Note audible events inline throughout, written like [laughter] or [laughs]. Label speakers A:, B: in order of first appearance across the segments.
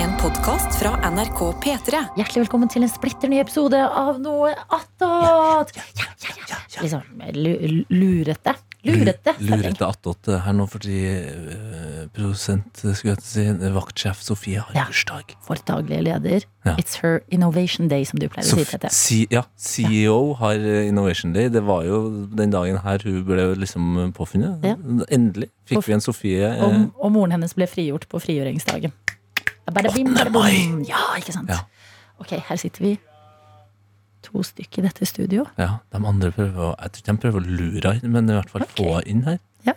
A: En podkast fra NRK P3.
B: Hjertelig velkommen til en splitter ny episode av Noe attåt! Liksom lu- lurete. Lurete setting.
C: Lurete attåt her nå, fordi eh, produsent skulle jeg til å si, eh, vaktsjef Sofie har
B: Ja.
C: bursdag.
B: Vår daglige leder.
C: Ja.
B: It's her innovation day, som du pleier å si.
C: Sof-
B: Tete.
C: C- ja, CEO har eh, Innovation Day. Det var jo den dagen her hun ble liksom påfunnet.
B: Ja.
C: Endelig fikk
B: Påf-
C: vi en Sofie. eh,
B: Og, og moren hennes ble frigjort på frigjøringsdagen. Bare bim, bare bom. Ja, ikke sant?
C: Ja.
B: Ok, her sitter vi to stykker i dette studio.
C: Ja, de andre prøver å, Jeg tror ikke de prøver å lure henne, men i hvert fall få henne inn her.
B: Ja,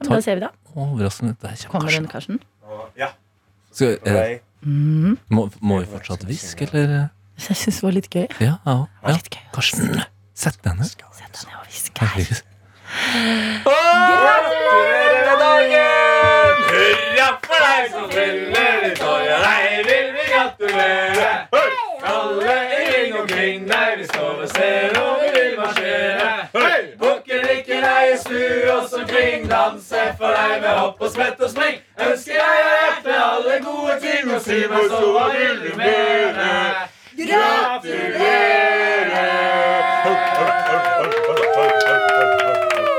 B: men
C: Ta-
B: Da ser vi, da.
C: Overraskende. Der kommer
B: Kommer hun,
C: Karsten.
B: Karsten?
D: Ja.
C: Skal, eh,
D: Jeg
C: må, må vi fortsatt hviske, eller?
B: Jeg syns det var litt gøy.
C: Ja, ja.
B: Det var
C: ja.
B: litt gøy.
C: Karsten, sett deg ned.
B: Sett deg ned og hvisk her.
C: Herregud.
D: gratulerer med dagen! Hurra for deg som fyller ditt år, ja, deg vil vi gratulere. Alle i ring omkring deg, vi står og ser, og vi vil marsjere. Bukken drikker deg i snu oss omkring, danse for deg med hopp og sprett og spring. Ønsker deg og hjertet alle gode ting, og si meg så, hva vil du mene? Gratulerer!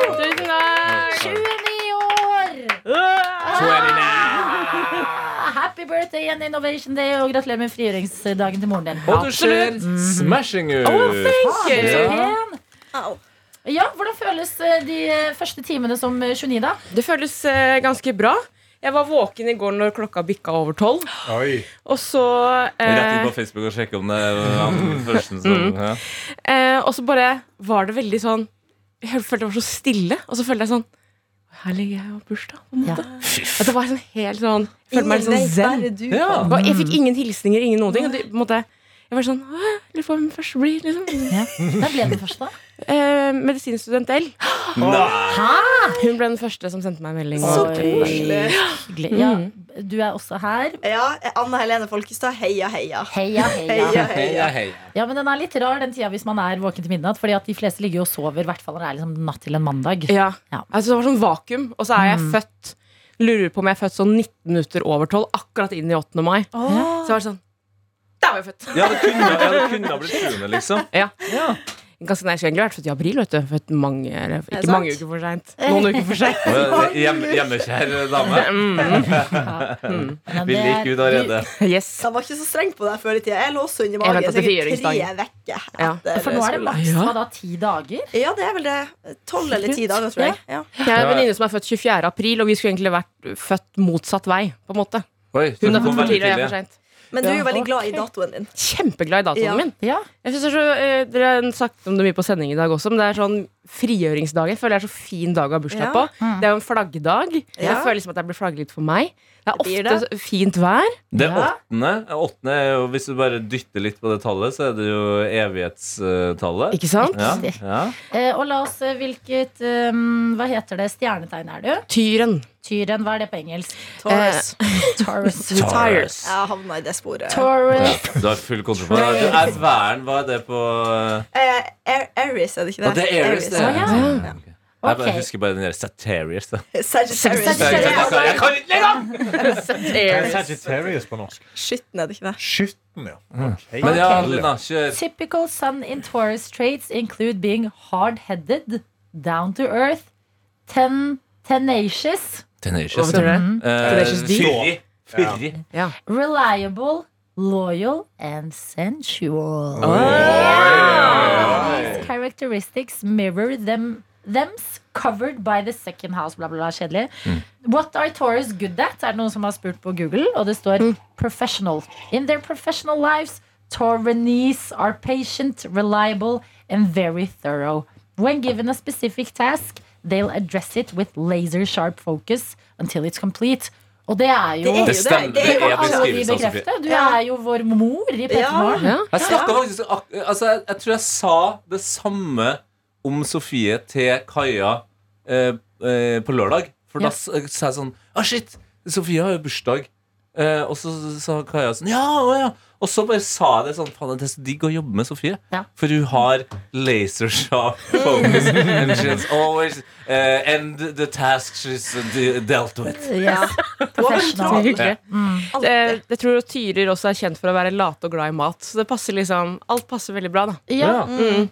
B: Tusen takk! 29 år! Ah, Happy birthday and Innovation Day, og gratulerer med frigjøringsdagen til moren din.
D: Og du ser smashing ut!
B: Ja. ja, Hvordan føles eh, de første timene som 29, da?
E: Det føles eh, ganske bra. Jeg var våken i går når klokka bikka over tolv. Og så eh,
C: Facebook og sjekke om det var den første som ja.
E: eh, Og så bare var det veldig sånn Jeg følte det var så stille, og så følte jeg sånn Her ligger jeg og har bursdag, på en måte. At det var sånn helt sånn Jeg følte meg litt sånn zen.
C: Ja.
E: Og jeg fikk ingen hilsninger, ingen noen ting. Og det, på en måte, jeg var sånn «Åh, Lurer på hvem den første blir, liksom.
B: Da ble den første. da.
E: Eh, medisinstudent L. Hun ble den første som sendte meg en melding.
F: Så
E: og-
F: koselig.
B: Hyggelig. Ja, du er også her.
F: Ja, Anna Helene Folkestad, heia, heia.
B: Heia, heia.
F: Heia, heia.
B: Ja, men Den er litt rar den tida hvis man er våken til midnatt. Fordi at de fleste ligger jo og sover, i hvert fall når det er liksom natt til en mandag.
E: Ja.
B: Ja.
E: Altså, det var sånn vakuum, og så er jeg
F: Mm.
E: født Lurer på om jeg er født sånn 19 minutter over 12, akkurat inn i 8. mai. Så jeg var sånn Der var jeg født!
D: Ja, det kunne, ja, det kunne ha blitt truende, liksom.
E: Ganske nice. Jeg har egentlig vært født i april, vet du. Født mange, eller,
F: det
E: ikke
F: sant?
E: mange uker for seint. Noen uker for [laughs] seint.
D: hjemmekjær dame.
E: Mm.
B: Men
D: Vi liker ut allerede.
E: Yes.
F: Han var ikke så streng på deg før i tida. Jeg lå også under
E: Jeg
F: magen
E: ventet til
F: sikkert tre
E: frigjøringsdagen.
F: uker.
E: Ja.
F: etter
B: For nå er det
F: skole.
B: maks
E: Ja.
B: hva da, ti dager?
F: Ja, det er vel det. Tolv eller ti dager, tror jeg. Ja.
E: Jeg har en venninne som er født 24. april, og vi skulle egentlig vært født motsatt vei. På en måte
D: Oi,
E: Hun er født for tidlig, og jeg er for seint.
F: Men du er
B: Ja,
F: jo veldig glad i
B: ok.
F: datoen din.
E: Kjempeglad i datoen
F: Ja.
E: min.
B: Ja.
E: Jeg synes det er så, eh, Dere har snakket om det mye på sending i dag også, men det er sånn frigjøringsdagen. Jeg føler det er så fin dag å ha bursdag
F: Ja.
E: på. Det er jo en flaggdag. Jeg
F: Ja.
E: føler liksom at jeg blir flagget litt for meg. Det er
F: blir
E: ofte så fint vær.
D: Det er
B: Ja.
D: åttende. åttende er jo, hvis du bare dytter litt på det tallet, så er det jo evighetstallet.
E: Ikke sant?
D: Ja, ja.
B: Eh, og la oss eh, hvilket eh, Hva heter det? Stjernetegn er du?
E: Tyren.
B: Tyren, hva er det på engelsk?
F: Taurus.
B: Taurus.
D: Taurus.
F: Jeg havna i det sporet.
B: Taurus.
D: Du har full kontroll på det. Er væren, hva er det på eh,
F: Eh, Air- Aries, er det ikke det?
D: Ja, det er Aries, det.
B: Å, ja.
D: Ja. Ok. Jeg bare
B: Ok.
D: husker bare den der Saterius. da.
F: Sagittarius.
B: Sagittarius.
D: Jeg kan ikke lenger!
G: Sagittarius på norsk.
F: Skytten, er det ikke det?
G: Skytten, ja. Hei.
D: Men ja, Lina, kjør.
B: Typical sun in Taurus traits include being hard-headed, down to earth, ten tenacious,
D: Tenacious. Eh,
E: betyr det?
C: Mm.
D: Tenacious
E: Tenacious D?
D: Fyrig. Fyrig.
B: reliable, loyal and sensual.
F: Oh,
B: These characteristics mirror them Thems covered by the second house bla, bla, bla, Kjedelig.
F: Mm.
B: What are Taurus good at? Er det noen som har spurt på Google? Og det står professional. In their professional lives, Taurinese are patient, reliable and very thorough. When given a specific task, they'll address it with laser sharp focus until it's complete. Og det er jo
F: Det er
D: Det stemmer. Det
B: kan
D: er
B: alle vi
D: beskrivelsen av Sofie.
B: bekrefte. Du er jo vår mor i Petermorgen.
E: Ja.
D: Jeg snakket faktisk ak- altså, jeg, jeg tror jeg sa det samme om Sofie til Kaja eh, eh, på lørdag. For
B: Ja.
D: da s-
C: «Ah,
D: sa jeg sånn Å, shit! Sofie har jo bursdag. Eh, og så sa Kaja sånn Ja, å ja!
C: Og så bare sa jeg det sånn Faen, det er så digg å jobbe med Sofie.
B: Ja.
C: For hun har lasersharp [laughs] focus. and she's always eh, end the task she's uh, de dealt with.
B: Yes.
E: Så
B: Professional.
E: hyggelig. Eh, Jeg tror tyrer også er kjent for å være late og glad i mat. Så det passer liksom, alt passer veldig bra, da.
B: Ja.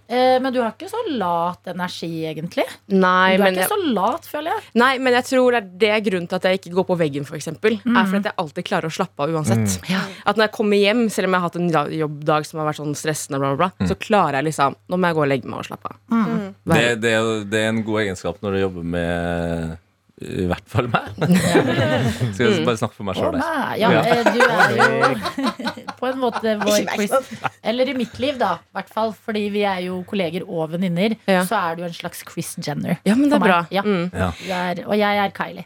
B: Eh, Men du har ikke så lat energi, egentlig. Du
E: Nei,
B: er
E: men
B: ikke
E: jeg,
B: så lat, føler jeg.
E: nei, men jeg tror det er det er grunnen til at jeg ikke går på veggen, f.eks. eksempel Er fordi at jeg alltid klarer å slappe av uansett. At når jeg kommer hjem, selv om jeg har hatt en la- jobbdag som har vært sånn stressende, bla, bla, bla, så klarer jeg liksom Nå må jeg gå og legge meg og slappe av.
C: Det, det, er jo- det er en god egenskap når du jobber med I hvert fall meg. Skal jeg bare snakke for meg sjøl der.
B: Nei, ja,
C: Ja.
B: eh, du er jo [laughs] på en måte vår
F: Ikke meg,
B: quiz. Eller i mitt liv, da. i Hvert fall, fordi vi er jo kolleger og venninner.
E: Ja.
B: Så er du en slags Chris Jenner.
E: Ja, men det
B: For
E: er bra.
B: meg, ja.
E: Mm.
B: Du er, og jeg er Kylie.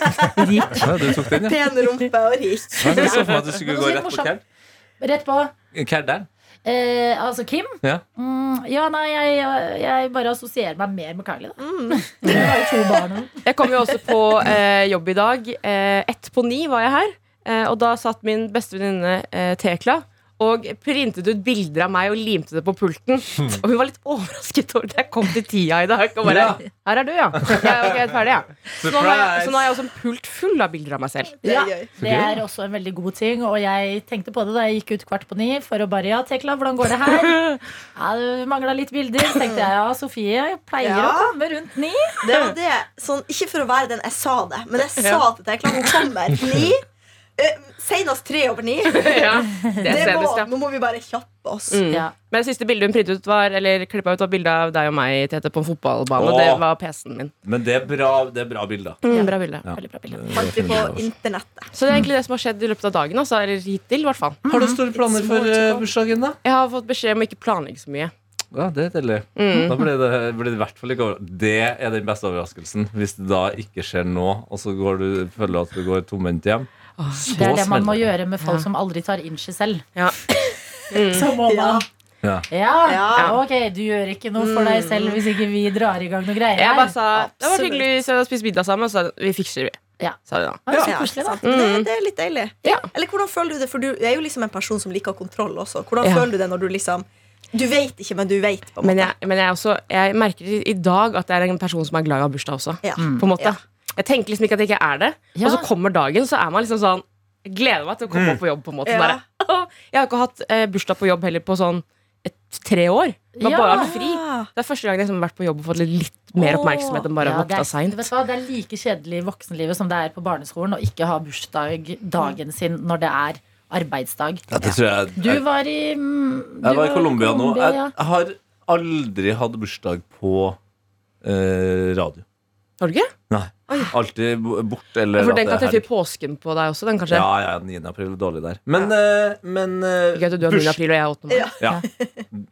C: Ja, du tok den, ja.
F: Pen rumpe og rik.
C: Jeg så for meg at du skulle gå
B: Men det er
C: rett på
B: morsomt.
C: Kerd.
B: Rett på.
C: Kerderen.
B: Eh, altså Kim?
C: Ja.
B: Mm, ja, nei, jeg, jeg- jeg bare assosierer meg mer med Kylie, da. [laughs] Jeg har jo to barn.
E: Jeg kom jo også på eh, jobb i dag. Eh, ett på ni var jeg her. Eh, og da satt min beste venninne eh, Tekla og printet ut bilder av meg og limte det på pulten. Og hun var litt overrasket over at jeg kom til tida i dag. Og bare,
C: Ja.
E: Her er du, ja. ja ok, jeg er ferdig, ja. Så nå, har jeg, så nå har jeg også en pult full av bilder av meg selv.
F: [laughs] Det
B: Ja.
F: er gøy.
B: Det er også en veldig god ting, og jeg tenkte på det da jeg gikk ut kvart på ni for å bare Ja, Tekla, hvordan går det her? Ja, du mangla litt bilder. Så tenkte jeg ja, Sofie pleier
F: Ja.
B: å komme rundt ni.
F: Det var det. Sånn, ikke for å være den jeg sa det, men jeg sa det til Tekla. Hun kommer ni. eh, Senest tre over ni.
E: Ja, [laughs] det
F: Det må,
E: senest, ja.
F: nå må vi bare kjappe oss.
E: Mm.
B: Ja.
E: Men det siste bildet hun printet ut var Eller klippa ut, var bilde av deg og meg Tete, på en fotballbane.
C: Åh.
E: Det var PC-en min. Mm,
C: Men det er bra, det er bra bilder.
E: Bra bilde.
C: Ja.
B: Veldig bra bilde.
F: Fant vi på internettet.
E: Så det er egentlig det som har skjedd i løpet av dagen. Altså, eller hittil, i hvert fall.
C: Har du store planer for eh, bursdagen, da?
E: Jeg har fått beskjed om å ikke planlegge så mye.
C: Ja, det er deilig.
B: Mm.
C: Da blir det, blir det i hvert fall ikke over. Det er den beste overraskelsen. Hvis det da ikke skjer nå, og så går du, føler at du går tomhendt hjem. Så
B: Det er det man må
C: smeller det.
B: gjøre med folk
E: Ja.
B: som aldri tar inch selv. Mm.
E: Ja.
B: Så må man
C: Ja.
B: Ja.
F: Ja.
B: ok, du gjør ikke noe for deg selv hvis ikke vi drar i gang noe greier
E: Mm. Jeg bare
B: her.
E: sa det var
F: Absolutt.
E: hyggelig hvis jeg hadde spist middag sammen. Så vi fikser vi.
B: Ja.
E: Sa de da. Mm.
B: Ja, så
F: Ja,
B: koselig, da.
F: sant. Det, det er litt deilig.
E: Ja.
F: Eller hvordan føler du det? For du er jo liksom en person som liker kontroll også. Hvordan
E: Ja.
F: føler du det når du liksom Du vet ikke, men du vet, på en
E: Men,
F: måte.
E: jeg, men jeg, er også, jeg merker i- i dag at jeg er en person som er glad i å ha bursdag også.
F: Ja.
E: På en måte.
F: Ja.
E: Jeg tenker liksom ikke at jeg ikke er det.
B: Ja.
E: Og så kommer dagen, så er man liksom sånn jeg Gleder meg til å
C: Mm.
E: komme opp på jobb. på en måte
F: Ja.
E: bare. Jeg har ikke hatt eh, bursdag på jobb heller på sånn et, tre år. Man
B: Ja.
E: bare har fri.
F: Ah.
E: Det er første gang jeg liksom har vært på jobb og fått litt, litt mer oppmerksomhet enn bare å
B: Ja, det
E: våkne
B: er-
E: seint.
B: vet du hva, Det er like kjedelig i voksenlivet som det er på barneskolen å ikke ha bursdag dagen sin når det er arbeidsdag.
C: Ja, det tror jeg.
B: Du
C: Jeg,
B: var i mm, du
C: jeg var i Colombia nå.
B: Colombia,
C: Jeg,
B: ja.
C: jeg har aldri hatt bursdag på eh, radio.
E: Har du ikke?
C: Nei. Alltid bo- bort eller
E: For
C: at
E: den
C: det er
E: kan
C: helg.
E: treffe i påsken på deg også, den kanskje.
C: Ja, ja, 9. april er dårlig der. Men, eh, men eh,
E: Gøy at du har 9.
C: burs-
E: april og jeg er 8. mai.
F: Ja.
C: Ja.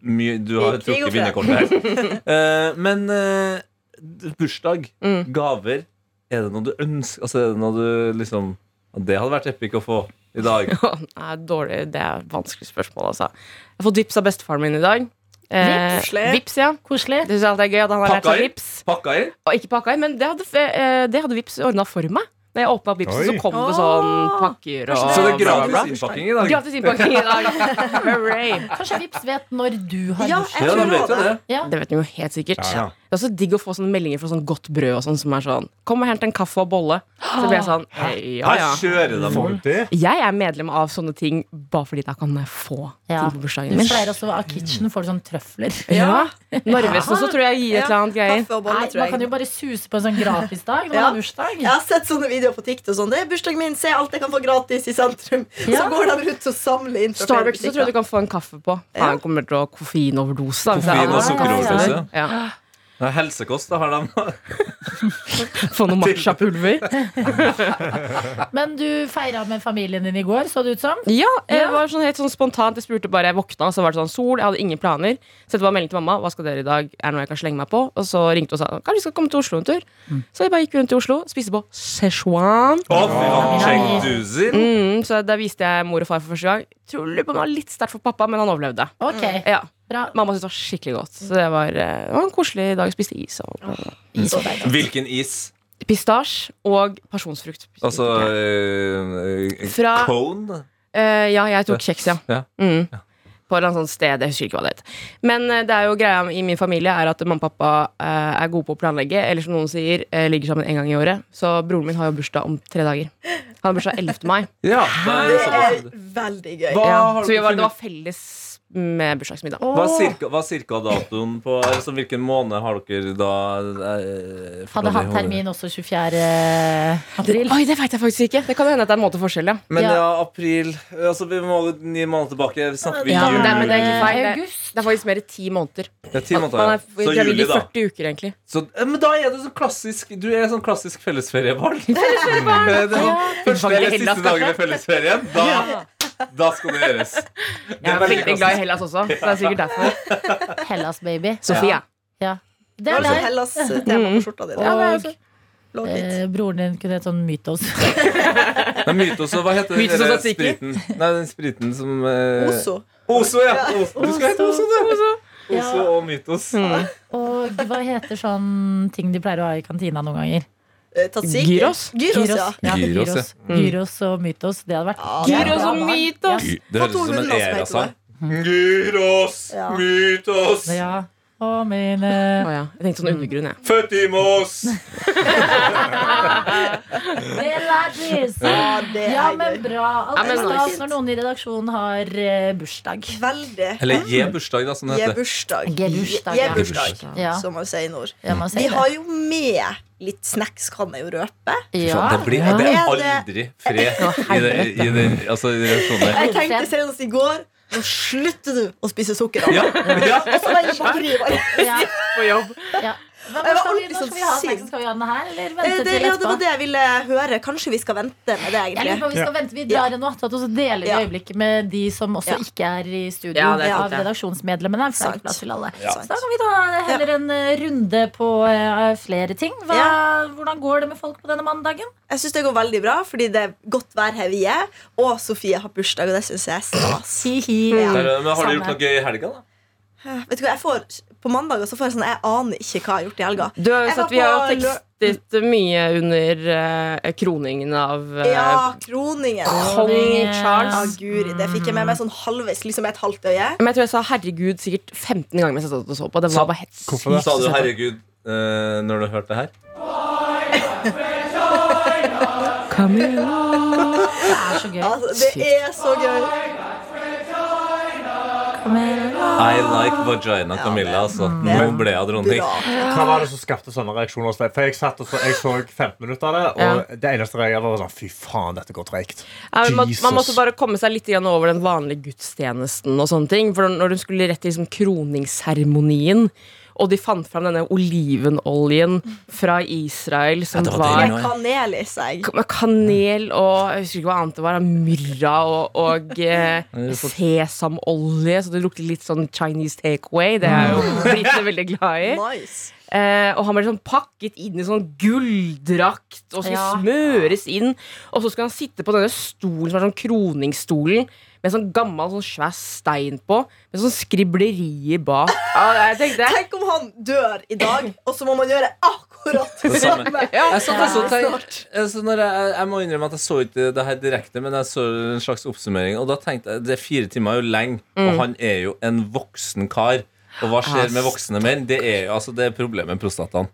C: Mye, du har
F: Krig og
C: trukket vinnerkortet her.
E: [laughs]
C: Eh, men eh, d- bursdag,
E: Mm.
C: gaver Er det noe du ønsker Altså, er det noe du liksom Det hadde vært epic å få i dag.
E: [laughs] Nei, dårlig, det er et vanskelig spørsmål, altså. Jeg har fått vips av bestefaren min i dag. Eh,
F: Vips, le.
E: vips, ja.
B: Koselig.
E: Det synes jeg alltid er gøy at han har lært
C: Pakka
E: seg
C: inn?
E: vips.
C: Pakka inn?
E: Og ikke pakka inn, men det hadde, eh, det hadde vips ordna for meg. Når jeg åpna vipsen,
G: Oi.
E: så kom det sånn pakker og
C: Så det er
E: bla, bla, bla.
C: gratis innpakking i dag?
E: Gratis innpakking i dag.
B: [laughs]
E: Hooray.
B: Kanskje Vips vet når du har
F: Ja,
B: bursdag.
F: jeg
C: Ja,
F: tror
C: de vet jo
F: det.
C: det.
B: Ja.
E: Det vet du jo helt sikkert.
G: Ja.
E: Det er også digg å få sånne meldinger fra sånn godt brød og sånn som er sånn Kom og hent en kaffe og bolle. Så blir jeg sånn «Hei, ja,
C: Her
E: ja.
C: kjører de
G: Får du det?
E: Jeg er medlem av sånne ting bare fordi da kan jeg få
B: Ja.
E: ting på bursdagen
B: Hun
E: min.
B: pleier også av kitchen får du sånn trøfler.
E: Ja. Narvesen også tror jeg gir et eller annet greier.
F: Kaffe og bolle,
B: Nei,
F: tror
B: man kan jo
F: jeg.
B: bare suse på en sånn gratisdag når
F: Ja.
B: man har bursdag.
F: Jeg har sett sånne videoer på TikTok. Sånn. Det er bursdagen min, se alt jeg kan få gratis i sentrum.
B: Ja.
F: Så går de rundt og samler inn. fra flere
E: Starbucks så tror jeg du kan få en kaffe på. Ja. Han kommer til å ha koffeinoverdose. da, hvis det
C: Koffein og
E: er andre som
B: sukkeroverdose.
E: kaster det. Ja.
C: Ja, helsekost, da har de.
E: Få noe matcha-pulver.
B: Men du feira med familien din i går, så det ut som.
E: Ja, jeg
B: Ja.
E: var sånn helt sånn spontant. Jeg spurte bare, jeg våkna, så var det sånn sol. Jeg hadde ingen planer. Så det var melding til mamma. Hva skal dere i dag? Er det noe jeg kan slenge meg på? Og så ringte hun og sa kanskje vi skal komme til Oslo en tur.
B: Mm.
E: Så jeg bare gikk rundt i Oslo, spiste på Szechuan.
C: Å, fy faen,
B: Nei.
C: checkduser.
E: Mm, så da viste jeg mor og far for første gang. Tror lurer på om det var litt sterkt for pappa, men han overlevde.
B: Ok,
E: Ja.
B: bra.
E: Mamma syntes det var skikkelig godt. Så det var, eh, det var en koselig dag. Spiste is og
C: Hvilken is?
E: pistasje og pasjonsfrukt.
C: Altså
E: Ja.
C: eh, eh,
E: Fra-
C: cone?
E: Eh, ja, jeg tok kjeks, ja.
C: Ja.
E: Mm. På et eller annet sånt sted. Jeg husker ikke hva det het. Men eh, det er jo greia i min familie er at mamma og pappa eh, er gode på å planlegge. Eller som noen sier, eh, ligger sammen en gang i året. Så broren min har jo bursdag om tre dager. Han har bursdag 11. mai.
C: Ja, det er
F: Det
C: såpass.
F: er veldig gøy.
C: Hva
E: Ja.
C: har
E: Så vi
C: du
E: var, det
C: funnet-
E: var felles med bursdagsmiddag.
C: Hva er cirka, hva er cirka datoen på altså, Hvilken måned har dere da
B: Hadde
C: eh, forholdet i
B: hatt
C: hodet?
B: termin også 24. april.
E: Oi, det veit jeg faktisk ikke. Det kan jo hende at det er en måte forskjell, ja.
C: Men
B: Ja.
C: ja, april altså, Vi må ni måneder tilbake. Vi snakker vi
B: Ja,
C: jul.
E: Nei, men det er ikke feil. Det,
B: August.
E: det er faktisk mer i ti måneder.
C: Det er ti måneder,
E: Man
C: ja.
E: er
C: Så
E: gravid
C: juli,
E: i
C: da.
E: 40 uker, egentlig.
C: Så, eh, men da er du sånn klassisk Du er sånn klassisk fellesferiebarn. Eh, det er sånn, Første
E: Vanlig
C: eller
E: Hellas,
C: siste dagen i fellesferien, da, da skal det gjøres.
E: Jeg er veldig glad i Hellas også, så det er sikkert derfor.
B: Hellas, baby.
E: Sofia.
B: Det
F: Det
B: er
F: er sånn
B: deg.
F: Hellas-tema på skjorta di.
B: Ja, det er altså-
F: Lå litt.
B: Eh, broren din kunne hett sånn Mytos.
F: [laughs]
C: Det er mytos og hva heter den
E: Mytos og
C: der
E: tzatziki?
C: spriten? Nei, den spriten som eh,
F: Ozo.
C: Ozo, ja. Ozo. Du skal hete Ozo, du. Ozo
B: Ja.
C: og Mytos.
E: Mm.
B: Og [laughs] hva heter sånn ting de pleier å ha i kantina noen ganger?
F: Eh, Tatsiki.
E: Gyros?
F: Gyros, ja.
B: Ja,
C: Gyros, Mm.
B: gyros. Gyros og Mytos. Det hadde vært
F: Ja,
B: jævla
E: Gyros og
B: bra.
E: mytos.
B: Ja.
C: Det
F: høres ut som en altså. Era-sang.
E: Mm.
C: Gyros,
F: Ja.
C: mytos,
B: Ja. Å, mine
E: Å ja. Jeg tenkte sånn undergrunn, jeg.
C: føtimos.
B: Det læres!
F: [laughs] Ja, det
B: Ja,
F: er
B: men
F: gøy.
B: bra.
E: Ja,
B: Alt
E: men
B: er stas
F: nice.
B: når noen i redaksjonen har eh, bursdag.
F: Veldig.
C: Eller je bursdag, da, som det
F: Gi
C: heter.
F: bursdag.
B: Gebursdag,
F: Gi
B: ja.
F: bursdag,
B: Ja,
F: som man sier i nord.
B: ja man
F: Vi
B: sier
F: har jo med litt snacks, kan jeg jo røpe.
B: det.
C: Faen,
B: Ja.
C: Sånn, Det, blir, det er
F: Det er
C: aldri fred i, det, i, det, altså, i relasjoner.
F: Jeg tenkte senest i går Nå slutter du å spise sukker.
C: [laughs]
F: da.
C: Ja, ja.
F: Og så var jeg bakeri, bare.
B: Ja.
E: På jobb.
B: Ja. Hva, hva
F: Jeg var
B: skal, vi,
F: ordentlig
B: nå skal
F: sånn
B: vi ha
F: sint.
B: snacksen? Skal vi ha den her, eller
F: Eh,
B: vente
F: Det,
B: til
F: ja, det
B: etterpå?
F: var det jeg ville høre. Kanskje vi skal vente med det,
B: Jeg lurer
F: egentlig.
B: på om Vi skal vente, vi drar en noe, og så deler vi
F: Ja.
B: øyeblikket med de som også
F: Ja.
B: ikke er i studio.
E: Ja, det er sant,
B: av
E: ja.
B: redaksjonsmedlemmene. for det er ikke plass til alle.
F: Ja.
B: Så da kan vi ta heller en eh, runde på eh, flere ting. Hva, Hvordan går det med folk på denne mandagen?
F: Jeg syns det går veldig bra, fordi det er godt vær her vi er. Og Sofie har bursdag, og det syns jeg er stas.
B: Hi-hi.
F: Ja.
C: Der, men har du
B: Samme.
C: gjort noe gøy i helga, da?
F: Vet du hva, jeg får, På mandager så får jeg sånn Jeg aner ikke hva jeg har gjort i
C: Eh,
F: helga.
E: Du har jo
F: Jeg var
E: sett, vi har jo
F: på lø-
E: tekstet mye under eh, kroningen av eh,
F: Ja, kroningen.
E: kong
B: Kroningen.
F: Ja,
E: Charles.
F: guri, det fikk jeg med meg sånn halvveis, liksom et halvt øye.
E: Men jeg tror jeg sa 'herregud' sikkert 15 ganger mens jeg satt og så på. Det var bare helt
G: Hvorfor det?
E: sykt
C: Sa du
E: å se på.
C: 'herregud' eh, når du hørte det her?
B: Det er så gøy.
F: Altså, det er så gøy.
B: Kom igjen.
C: I like vagina Camilla, altså. Nå
F: det-
C: ble jeg dronning.
F: Bra.
G: Hva var det som skapte sånne reaksjoner hos deg? For jeg satt og så, jeg så 15 minutter av det, og det eneste jeg gjorde, var sånn Fy faen, dette går treigt.
E: Ja, men man, man måtte
G: Jesus.
E: bare komme seg litt grann over den vanlige gudstjenesten. og sånne ting For Når hun skulle rett til liksom kroningsseremonien, og de fant fram denne olivenoljen fra Israel
C: Ja,
E: som
C: det var
E: var,
C: deilig.
F: Med kanel i seg.
E: med kanel og jeg husker ikke hva annet det var, myrra og, og eh, sesamolje, så det lukter litt sånn Chinese takeaway. Det er jo britene veldig
F: [laughs]
E: glad i.
F: Nice.
E: Eh, og han ble sånn pakket inn i sånn gulldrakt og skulle
B: Ja.
E: smøres inn. Og så skulle han sitte på denne stolen som er sånn kroningsstolen med sånn gammel, sånn svær stein på, med sånn skriblerier bak. Ja, jeg tenkte
F: Tenk om han dør i dag, og så må man gjøre akkurat det
C: Det samme.
F: samme.
E: ja.
C: Jeg, satt også og tenkte- altså, når jeg, jeg- jeg må innrømme at jeg så ikke det her direkte, men jeg så en slags oppsummering. Og da tenkte jeg det er fire timer er jo lenge,
B: Mm.
C: og han er jo en voksen kar. Og hva skjer med voksne menn? Det er jo altså, det er problemet med prostataen.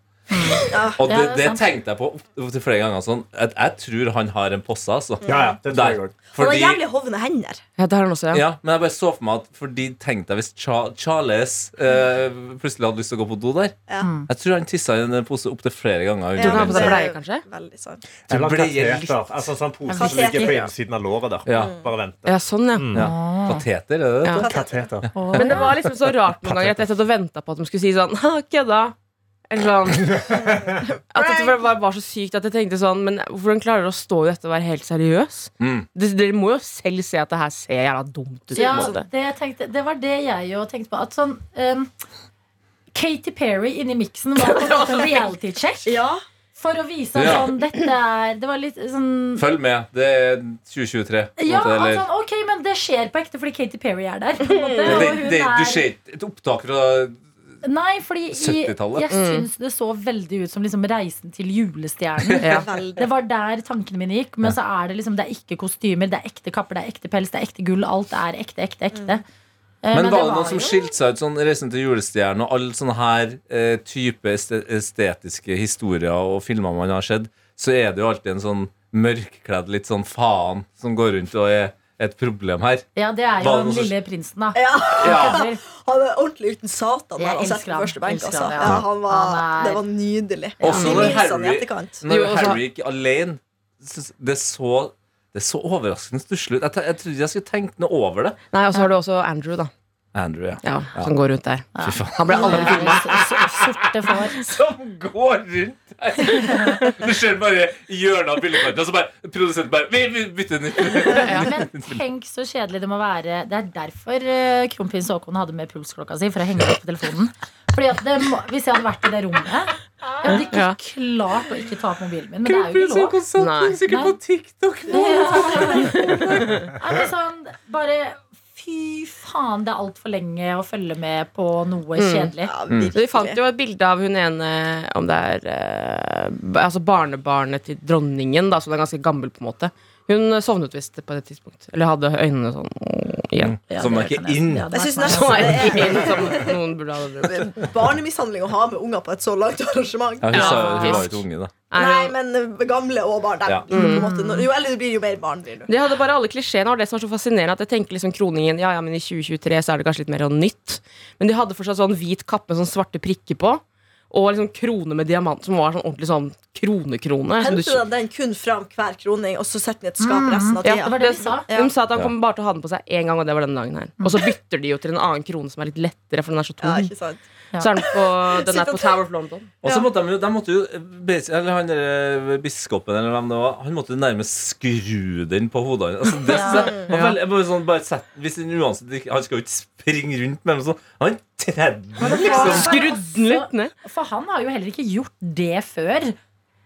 B: Ja,
C: Og det,
B: det er sant.
C: det tenkte jeg på opp til flere ganger. Sånn, at jeg tror han har en posse, altså.
G: Ja, ja, det tror jeg
C: Der.
G: også.
F: Han har
C: Fordi-
F: jævlig hovne hender.
E: ja, det har han også, ja.
C: Ja, men jeg bare så for meg at Fordi tenkte jeg hvis Cha Charles eh, plutselig hadde lyst til å gå på do der
F: Ja.
C: Jeg tror han tissa i en pose opptil flere ganger. under
E: Tror du han har på
C: mensen.
E: seg
F: det
E: bleie,
F: er jo
E: kanskje?
F: Veldig sant.
G: Eller
C: ble jeg litt-
G: kateter. Altså sånn pose som
B: Kateter.
G: ligger på innsiden av låret der.
C: Ja.
G: Bare vente.
E: Ja, sånn, ja.
C: ja. Pateter, er det det?
E: Ja.
G: Kateter.
E: Men det var liksom
C: [laughs]
E: så rart noen ganger at jeg satt og venta på at de skulle si sånn [laughs] «Ha, Kødda! Eller
C: [laughs]
E: sånn. At det bare var, var så sykt at jeg tenkte sånn Men hvordan klarer dere å stå i dette og være helt seriøs?
C: Mm.
E: Dere, dere må jo selv se at det her ser jævla dumt ut. på en
B: Ja,
E: måte.
B: det, jeg tenkte, det var det jeg jo tenkte på. At sånn um, Katy Perry inni miksen var
E: [laughs]
B: på en måte en reality check.
F: Ja,
B: For å vise at
C: Ja.
B: sånn, dette er Det var litt sånn
C: Følg med. Det er 2023. på en
B: Ja, at
C: måte, eller-
B: sånn, ok, men det skjer på ekte fordi Katy Perry er der. På en måte,
C: det,
B: og hun
C: det, du
B: er-
C: ser ikke et opptak fra
B: Nei, fordi i,
C: 70-tallet.
B: jeg syns det så veldig ut som liksom reisen til
C: [laughs]
B: julestjernen.
E: Ja.
B: Det
F: Veldig.
B: var der tankene mine gikk. Men så er det liksom, det er ikke kostymer, det er ekte kapper, det er ekte pels, det er ekte gull. Alt er ekte, ekte, ekte. Eh,
C: Men, var det
B: var
C: noen som
B: jo-
C: skilte seg ut sånn Reisen til julestjernen og alle sånne her eh, type este- estetiske historier og filmer man har sett, så er det jo alltid en sånn mørkkledd litt sånn faen som går rundt og er et problem her.
B: Ja, det er jo
C: Var det
B: Den
C: noen som-
B: lille prinsen, da.
F: Ja.
C: Ja.
F: Han er ordentlig uten satan
B: Jeg
F: der. Altså,
B: elsker
F: på
B: han.
F: første benk,
B: Elsker
F: altså.
B: han, ja.
F: ja, han var,
B: Han er-
F: det var nydelig.
C: Også
F: Vi
C: når
F: minnes han i
C: Harry-
F: etterkant.
C: Når
E: Jo, altså-
C: Harry gikk alene, så- det så det så overraskende stusslig ut. Jeg, te- jeg trodde jeg skulle tenke noe over det.
E: Nei, Og så har du også Andrew, da.
C: Andrew, ja.
E: Ja, Som går rundt der.
C: Fy faen.
E: Han ble aldri
B: Sorte får.
C: [laughs]
D: [laughs] Som går rundt her. Du ser bare i hjørnet av bildekartet, og så bare produsenten bare Vi, vi bytter nytt.
B: Men tenk så kjedelig det må være. Det er derfor eh, kronprins Haakon hadde med pulsklokka si. For å henge opp på telefonen Fordi at det må, Hvis jeg hadde vært i det rommet Jeg hadde ikke
E: Ja.
B: klart å ikke ta opp mobilen min. Men det er jo ikke lov.
E: Nei.
B: sikkert på
C: TikTok.
B: [laughs] Er det sånn, bare fy faen, det er altfor lenge å følge med på noe kjedelig.
F: Ja,
E: Så Vi fant
F: virkelig.
E: jo et bilde av hun ene Om det er eh, ba- altså barnebarnet til dronningen, da, som er ganske gammel. på en måte Hun sovnet visst på det tidspunkt. Eller hadde øynene sånn mm, igjen.
B: Ja,
C: Som
B: det
C: er ikke
B: kan jeg-
C: inn.
B: det sånn. hadde
F: Jeg
B: vært
F: synes
B: meg.
F: nesten-
E: Så er det ikke inn, som noen burde ha det.
F: Barnemishandling å ha med unger på et så langt arrangement.
C: Ja, hun, sa,
E: Ja,
C: hun var jo
E: faktisk.
C: ikke unge, da.
F: Nei, men eh, gamle og barn.
C: Ja.
F: dem blir på en måte, når- jo eldre du blir, jo mer barn blir du.
E: De hadde bare alle klisjeene. og Det som var så fascinerende at jeg tenker liksom kroningen Ja, ja, men i 2023 så er det kanskje litt mer sånn nytt. Men de hadde fortsatt sånn hvit kappe med sånn svarte prikker på. Og liksom krone med diamant, som var sånn ordentlig sånn kronekrone. som du
F: Henter de den kun fram hver kroning, og så setter de et skap resten av
E: Ja,
F: tida?
E: det
B: var det de sa.
E: De sa at han kommer bare til å ha den på seg én gang, og det var denne dagen her. Og så bytter de jo til en annen krone som er litt lettere, for den er så
F: Ja,
E: tung.
F: ikke sant?
E: Så er den på, den
F: [laughs] Sitt
E: er
F: og
E: på
F: ta-
E: Tower of London.
C: Og så måtte de, jo- de måtte jo basi- Eller han der eh, biskopen eller hvem det var, han måtte jo nærmest skru den på hodet. hans. Altså, det, synes jeg var
E: Ja.
C: veldig- jeg bare sånn, bare sett, hvis den uansett ikke Han skal jo ikke springe rundt med dem sånn. Han tredde liksom.
E: Skrudd
F: Altså-
E: den litt ned.
B: For han har jo heller ikke gjort det før.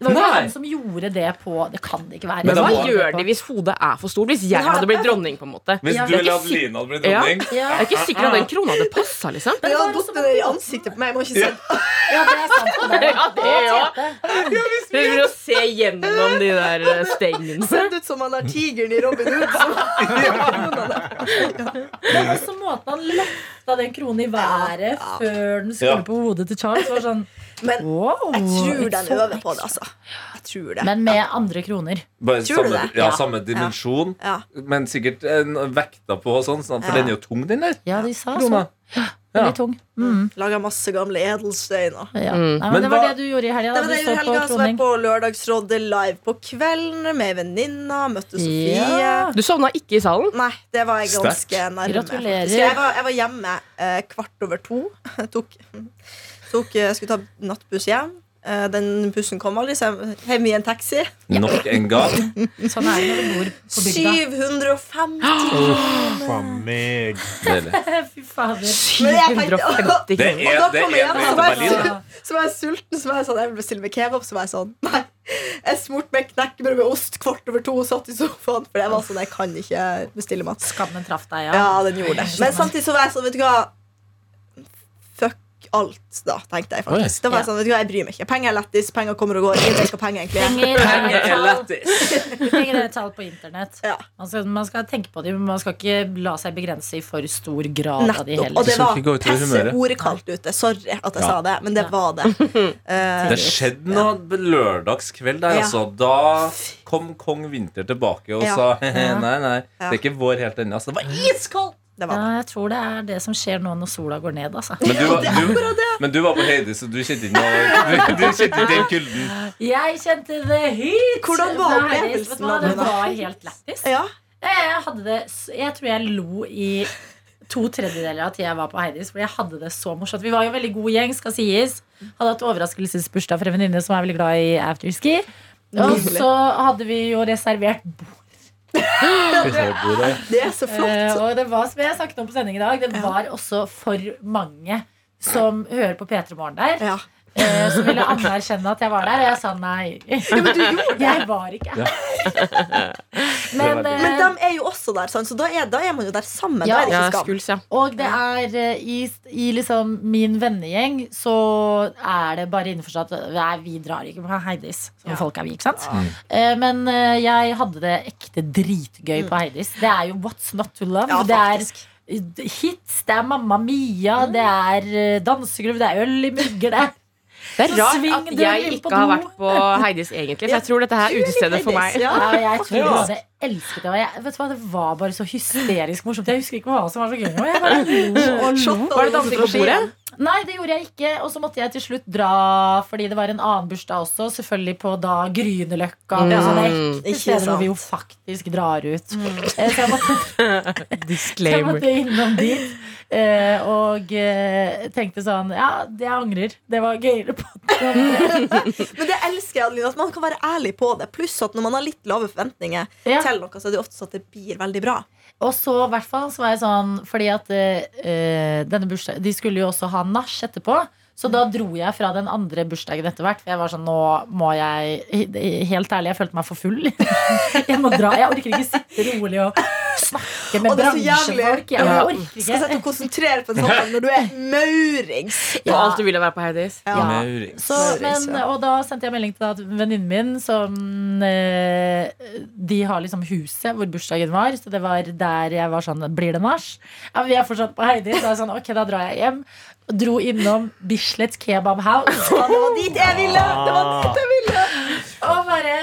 B: Det var jo
C: Nei.
B: han som gjorde det på Det kan det ikke være.
E: Men
C: da
E: hva
C: må-
E: gjør de hvis hodet er for stort? Hvis jeg hadde blitt dronning, på en måte.
D: Hvis
B: Ja.
D: du ville hatt Lina bli
E: Ja.
D: dronning
B: Ja,
E: Jeg er ikke sikker at den krona hadde passa, liksom.
F: Men
B: det
F: det
B: var
F: har
B: også
F: gått med det i ansiktet på meg. Jeg må ikke se det.
B: ja, det er sant. Det er
E: Ja, det er jo Prøver å se gjennom de der eh, stengene.
F: [laughs] Sett ut som han der tigeren i Robin Hood. som-
B: Men også måten han løfta den kronen i været før den skulle
C: Ja.
B: på hodet til Charles, var sånn
F: Men
B: wow.
F: jeg tror
B: it's
F: den
B: so
F: øver på det,
B: extra.
F: altså. Jeg tror det.
B: Men med andre kroner.
C: Bare
F: Tror du
C: samme,
F: det?
C: ja,
B: Ja.
C: samme dimensjon,
F: Ja.
C: men sikkert en vekta på og sånn, sånn, for
F: Ja.
C: den er jo tung, den der.
B: Ja, de sa så.
C: Krona. Ja.
B: Veldig tung. Mm,
F: Laga masse gamle edelsteiner.
B: ja. Nei,
E: Mm.
B: men
C: Men
B: det var
C: hva-
B: det du gjorde i helga.
F: Det
B: da.
F: var
B: Du
F: altså, det i
B: så på
F: helga som var
B: kroning.
F: på Lørdagsrådet live på kvelden med venninna. Møtte Sofie.
B: Ja.
E: Du sovna ikke i salen?
F: Nei, det var jeg
C: Sterkt.
F: ganske nærme.
B: Gratulerer.
F: Så jeg var, jeg var hjemme eh, kvart over to. [laughs] Jeg tok, tok, eh, skulle ta nattbuss hjem. Eh, den bussen kom aldri, så jeg hjem i en taxi.
C: Nok en gang.
B: Sånn er det når du bor på bygda.
F: 750
B: [gasps]
G: For meg.
C: Deilig.
B: [laughs] Fy fader.
F: Men jeg tenkte-
E: 750
C: Det
E: kroner.
F: Og
C: er,
F: da
C: det
F: kom
C: er
F: jeg hjem,
C: det
F: og så
C: til
F: var
C: Berlin.
F: jeg,
C: det.
B: da.
F: så var jeg sulten, så var jeg sånn Jeg vil bestille meg kebab. Så var jeg sånn Nei. Jeg smurte meg knekkebrød med ost kvart over to og satt i sofaen. For jeg var sånn Jeg kan ikke bestille mat.
B: Skammen traff deg, ja.
F: Ja, den gjorde det. Men samtidig så var jeg sånn Vet du hva Fuck alt, da, tenkte jeg faktisk. Da var jeg sånn, vet du hva, Jeg bryr meg ikke. Penger er lættis. Penger kommer og går. Ingen skal ha penger, egentlig.
B: Penger
C: Penger
B: er
C: er
B: tall.
C: lættis.
B: Penger er tall på internett.
F: Ja,
B: Man skal, man skal tenke på dem, men man skal ikke la seg begrense i for stor grad av de
F: nettopp. Og
B: heller.
F: det
C: skal
F: var
C: ikke gå utover humøret.
F: passeordet kaldt ute. Sorry at jeg
C: Ja.
F: sa det, men det
B: Ja.
F: var det. Eh,
C: Det skjedde noe på lørdagskveld der,
F: Ja.
C: altså. Da kom kong Winter tilbake og
F: Ja.
C: sa [laughs] nei, nei, det
F: Ja.
C: er ikke vår helt ennå. Altså, det var iskaldt!
F: det
B: Ja, [laughs]
F: var det.
B: jeg tror det er det som skjer nå når sola går ned, altså.
C: Men du, var- du, men du var på Heidi, så du kjente ikke noe [laughs] Du, du kjente ikke den kulden.
B: Jeg kjente the heat!
F: Hvordan var
B: Nei,
F: opplevelsen
B: vet du hva,
F: av
B: Det
F: det da?
B: var helt lættis.
F: Ja.
B: Jeg, hadde det, s- jeg tror jeg lo i to tredjedeler av tida jeg var på Heidis. Fordi jeg hadde det så morsomt Vi var jo en veldig god gjeng, skal sies. Hadde hatt overraskelsesbursdag for en venninne som er veldig glad i afterski. Og
F: Nydelig.
B: så hadde vi jo reservert bord.
F: Det er så
B: Eh,
F: flott.
B: Og det var, som jeg snakket om på sending i dag, det var også for mange som hører på P3 Morgen der.
F: Ja.
B: Eh, som ville anerkjenne at jeg var der, og jeg sa nei.
F: Ja, men du gjorde det.
B: Jeg var ikke her. Men,
G: Det er veldig-
B: eh,
F: Men de er jo også der, sant? så da er, da er man jo der sammen.
B: Ja.
F: Da er det
E: Ja,
F: ikke skam.
E: skuls, ja.
B: og det er eh, i, i liksom min vennegjeng så er det bare innforstått at nei, vi drar ikke på Heidis. Som folk er vi, ikke sant? Eh, Men eh, jeg hadde det ekte dritgøy på Heidis. Det er jo What's Not To Love.
F: Ja,
B: det er
F: faktisk.
B: hits, det er Mamma Mia, det er eh, dansegruve, det er øl i mugger, det er
E: Det er
B: Så
E: rart
B: sving
E: at
B: døren
E: jeg
B: inn på
E: ikke har
B: do.
E: vært på Heidis, egentlig. For jeg tror dette her er utestedet for meg.
F: Ja.
B: Ja, jeg tror jeg hadde elsket det. Og jeg, vet du hva, det var bare så hysterisk morsomt. Jeg husker ikke hva som var så gøy. Og jeg bare lo og lo.
F: Shot
E: Var det
F: og-
E: dansing på bordet?
B: Nei, det gjorde jeg ikke. Og så måtte jeg til slutt dra fordi det var en annen bursdag også. Selvfølgelig på da Grünerløkka.
E: Mm.
B: Mm. Sånne ekte
F: Ikke
B: steder hvor
F: sant.
B: vi jo faktisk drar ut. Eh, Så jeg måtte, [laughs] så jeg
E: Disclaimer.
B: måtte innom dit. eh, Og eh, tenkte sånn Ja, det jeg angrer. Det var gøyere på
F: Men det elsker jeg, Adeline, at man kan være ærlig på det. Pluss at når man har litt lave forventninger
B: Ja.
F: til noe, så er det ofte sånn at det blir veldig bra.
B: Og så i hvert fall så var jeg sånn Fordi at eh, denne bursdagen De skulle jo også ha nach etterpå Så da dro jeg fra den andre bursdagen etter hvert For jeg var sånn, nå må jeg Helt ærlig, jeg følte meg for full [laughs] Jeg må dra, jeg orker ikke sitte rolig Og snakke med
F: Og det er så
B: bransjefolk
F: jævlig.
B: Jeg
F: Ja.
B: orker ikke
F: Skal sette og konsentrere på en samtale når du er maurings.
E: Og alt du ville være på Heidis.
B: Ja.
C: Maurits.
B: Så, men, og da sendte jeg melding til at venninnen min som eh, De har liksom huset hvor bursdagen var, så det var der jeg var sånn Blir det nach? Ja, men vi er fortsatt på Heidi. Så er jeg sånn, ok, da drar jeg hjem. Dro innom Bislett Kebab House.
F: Ja, det var dit jeg ville! Det var
G: Ah.
F: dit jeg ville.
B: Og bare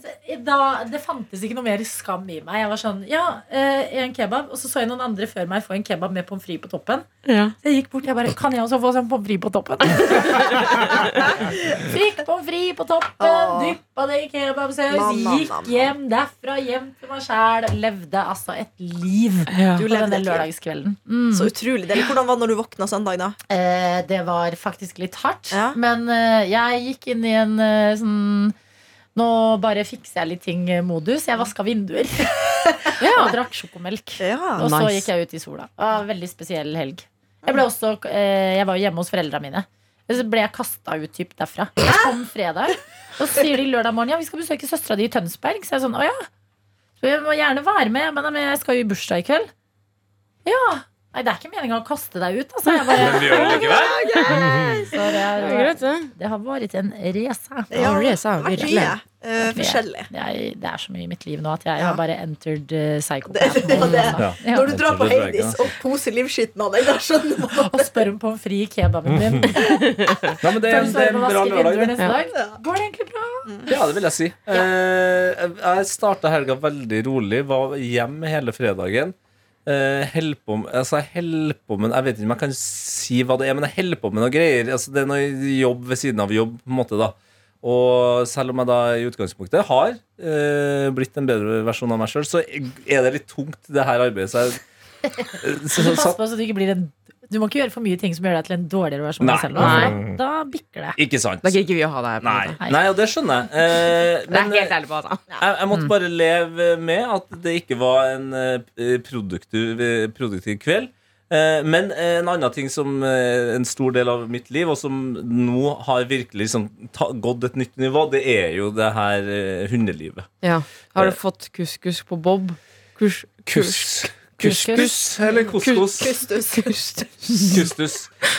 B: altså, da, Det fantes ikke noe mer skam i meg. Jeg var sånn, ja, eh, en kebab. Og så så jeg noen andre før meg få en kebab med pommes frites på toppen. Så jeg gikk bort jeg bare Kan jeg også få sånn pommes frites på toppen? Fikk pommes frites på toppen,
F: Åh.
B: dyppa det i
F: Nam,
B: kebabsaus,
F: nam, nam,
B: gikk
F: nam.
B: hjem derfra, hjem til meg sjæl. Levde altså et liv
E: Ja.
F: Du
B: på
F: levde
B: denne
F: et liv.
B: lørdagskvelden. Mm.
F: Så utrolig deilig. Hvordan var det når du våkna søndag, da?
B: Eh, det var faktisk litt hardt,
F: Ja.
B: men eh, jeg gikk inn i en eh, sånn nå bare fikser jeg litt ting-modus. Jeg vaska vinduer [laughs] og drakk sjokomelk.
F: Ja.
B: Og så
E: Nice.
B: gikk jeg ut i sola. Det var en veldig spesiell helg. Jeg, ble også, eh, jeg var jo hjemme hos foreldra mine. Så ble jeg kasta ut typ derfra. Jeg kom fredag, og så sier de lørdag morgen ja, vi skal besøke søstera di i Tønsberg. Så jeg er sånn, å ja. Så jeg må gjerne være med, men men jeg skal jo i bursdag i kveld. Ja. Nei, det er ikke meninga å kaste deg ut, altså. Jeg bare,
D: Men vi gjør det likevel.
B: så det,
F: [laughs]
E: Det er greit,
B: er,
E: det.
B: det har vært en race.
F: Ja,
E: det er
F: vært
E: virkelig.
F: mye eh, forskjellig.
B: Jeg, det er så mye i mitt liv nå at jeg
F: Ja.
B: har bare entered uh,
F: Det, det, [laughs] var det.
C: Ja.
B: altså. Ja.
F: Når du drar
C: Jeg
F: på
C: tror det er
F: Heidis
C: bra,
F: og koser livskiten av deg, da skjønner man
B: Og spør om pommes frites i kebaben min.
C: Nei, men det er en, det er en bra lørdag. det.
B: Ja. Går det egentlig bra?
C: Ja, det vil jeg si. Eh, jeg starta helga veldig rolig, var hjemme hele fredagen. Eh, held på med, altså jeg held på med Jeg vet ikke om jeg kan si hva det er, men jeg held på med noe greier. Altså, det er noe jobb ved siden av jobb, på en måte, da. Og selv om jeg da i utgangspunktet har eh, blitt en bedre versjon av meg sjøl, så er det litt tungt, det her arbeidet. Så jeg,
E: [laughs]
C: så,
B: Så
C: så,
B: pass på så du ikke blir en Du må ikke gjøre for mye ting som gjør deg til en dårligere versjon av
C: Nei.
B: deg selv. Da, da bikker det.
C: ikke sant?
E: Da gidder ikke vi å ha deg her. på en
C: Nei,
E: måte.
C: nei, og det skjønner jeg. Eh,
E: Det er
C: men-
E: helt ærlig på Anna.
C: Jeg, jeg måtte bare leve med at det ikke var en eh, produktiv, eh, produktiv kveld. Eh, Men en annen ting som eh, en stor del av mitt liv, og som nå har virkelig liksom ta, gått et nytt nivå, det er jo det her eh, hundelivet.
E: Ja. Har du fått kuskus på Bob? Kurs,
C: Kusk.
B: Kuskus.
C: Kuskus, eller couscous.
F: kustus.
E: Kust.
C: Kustus.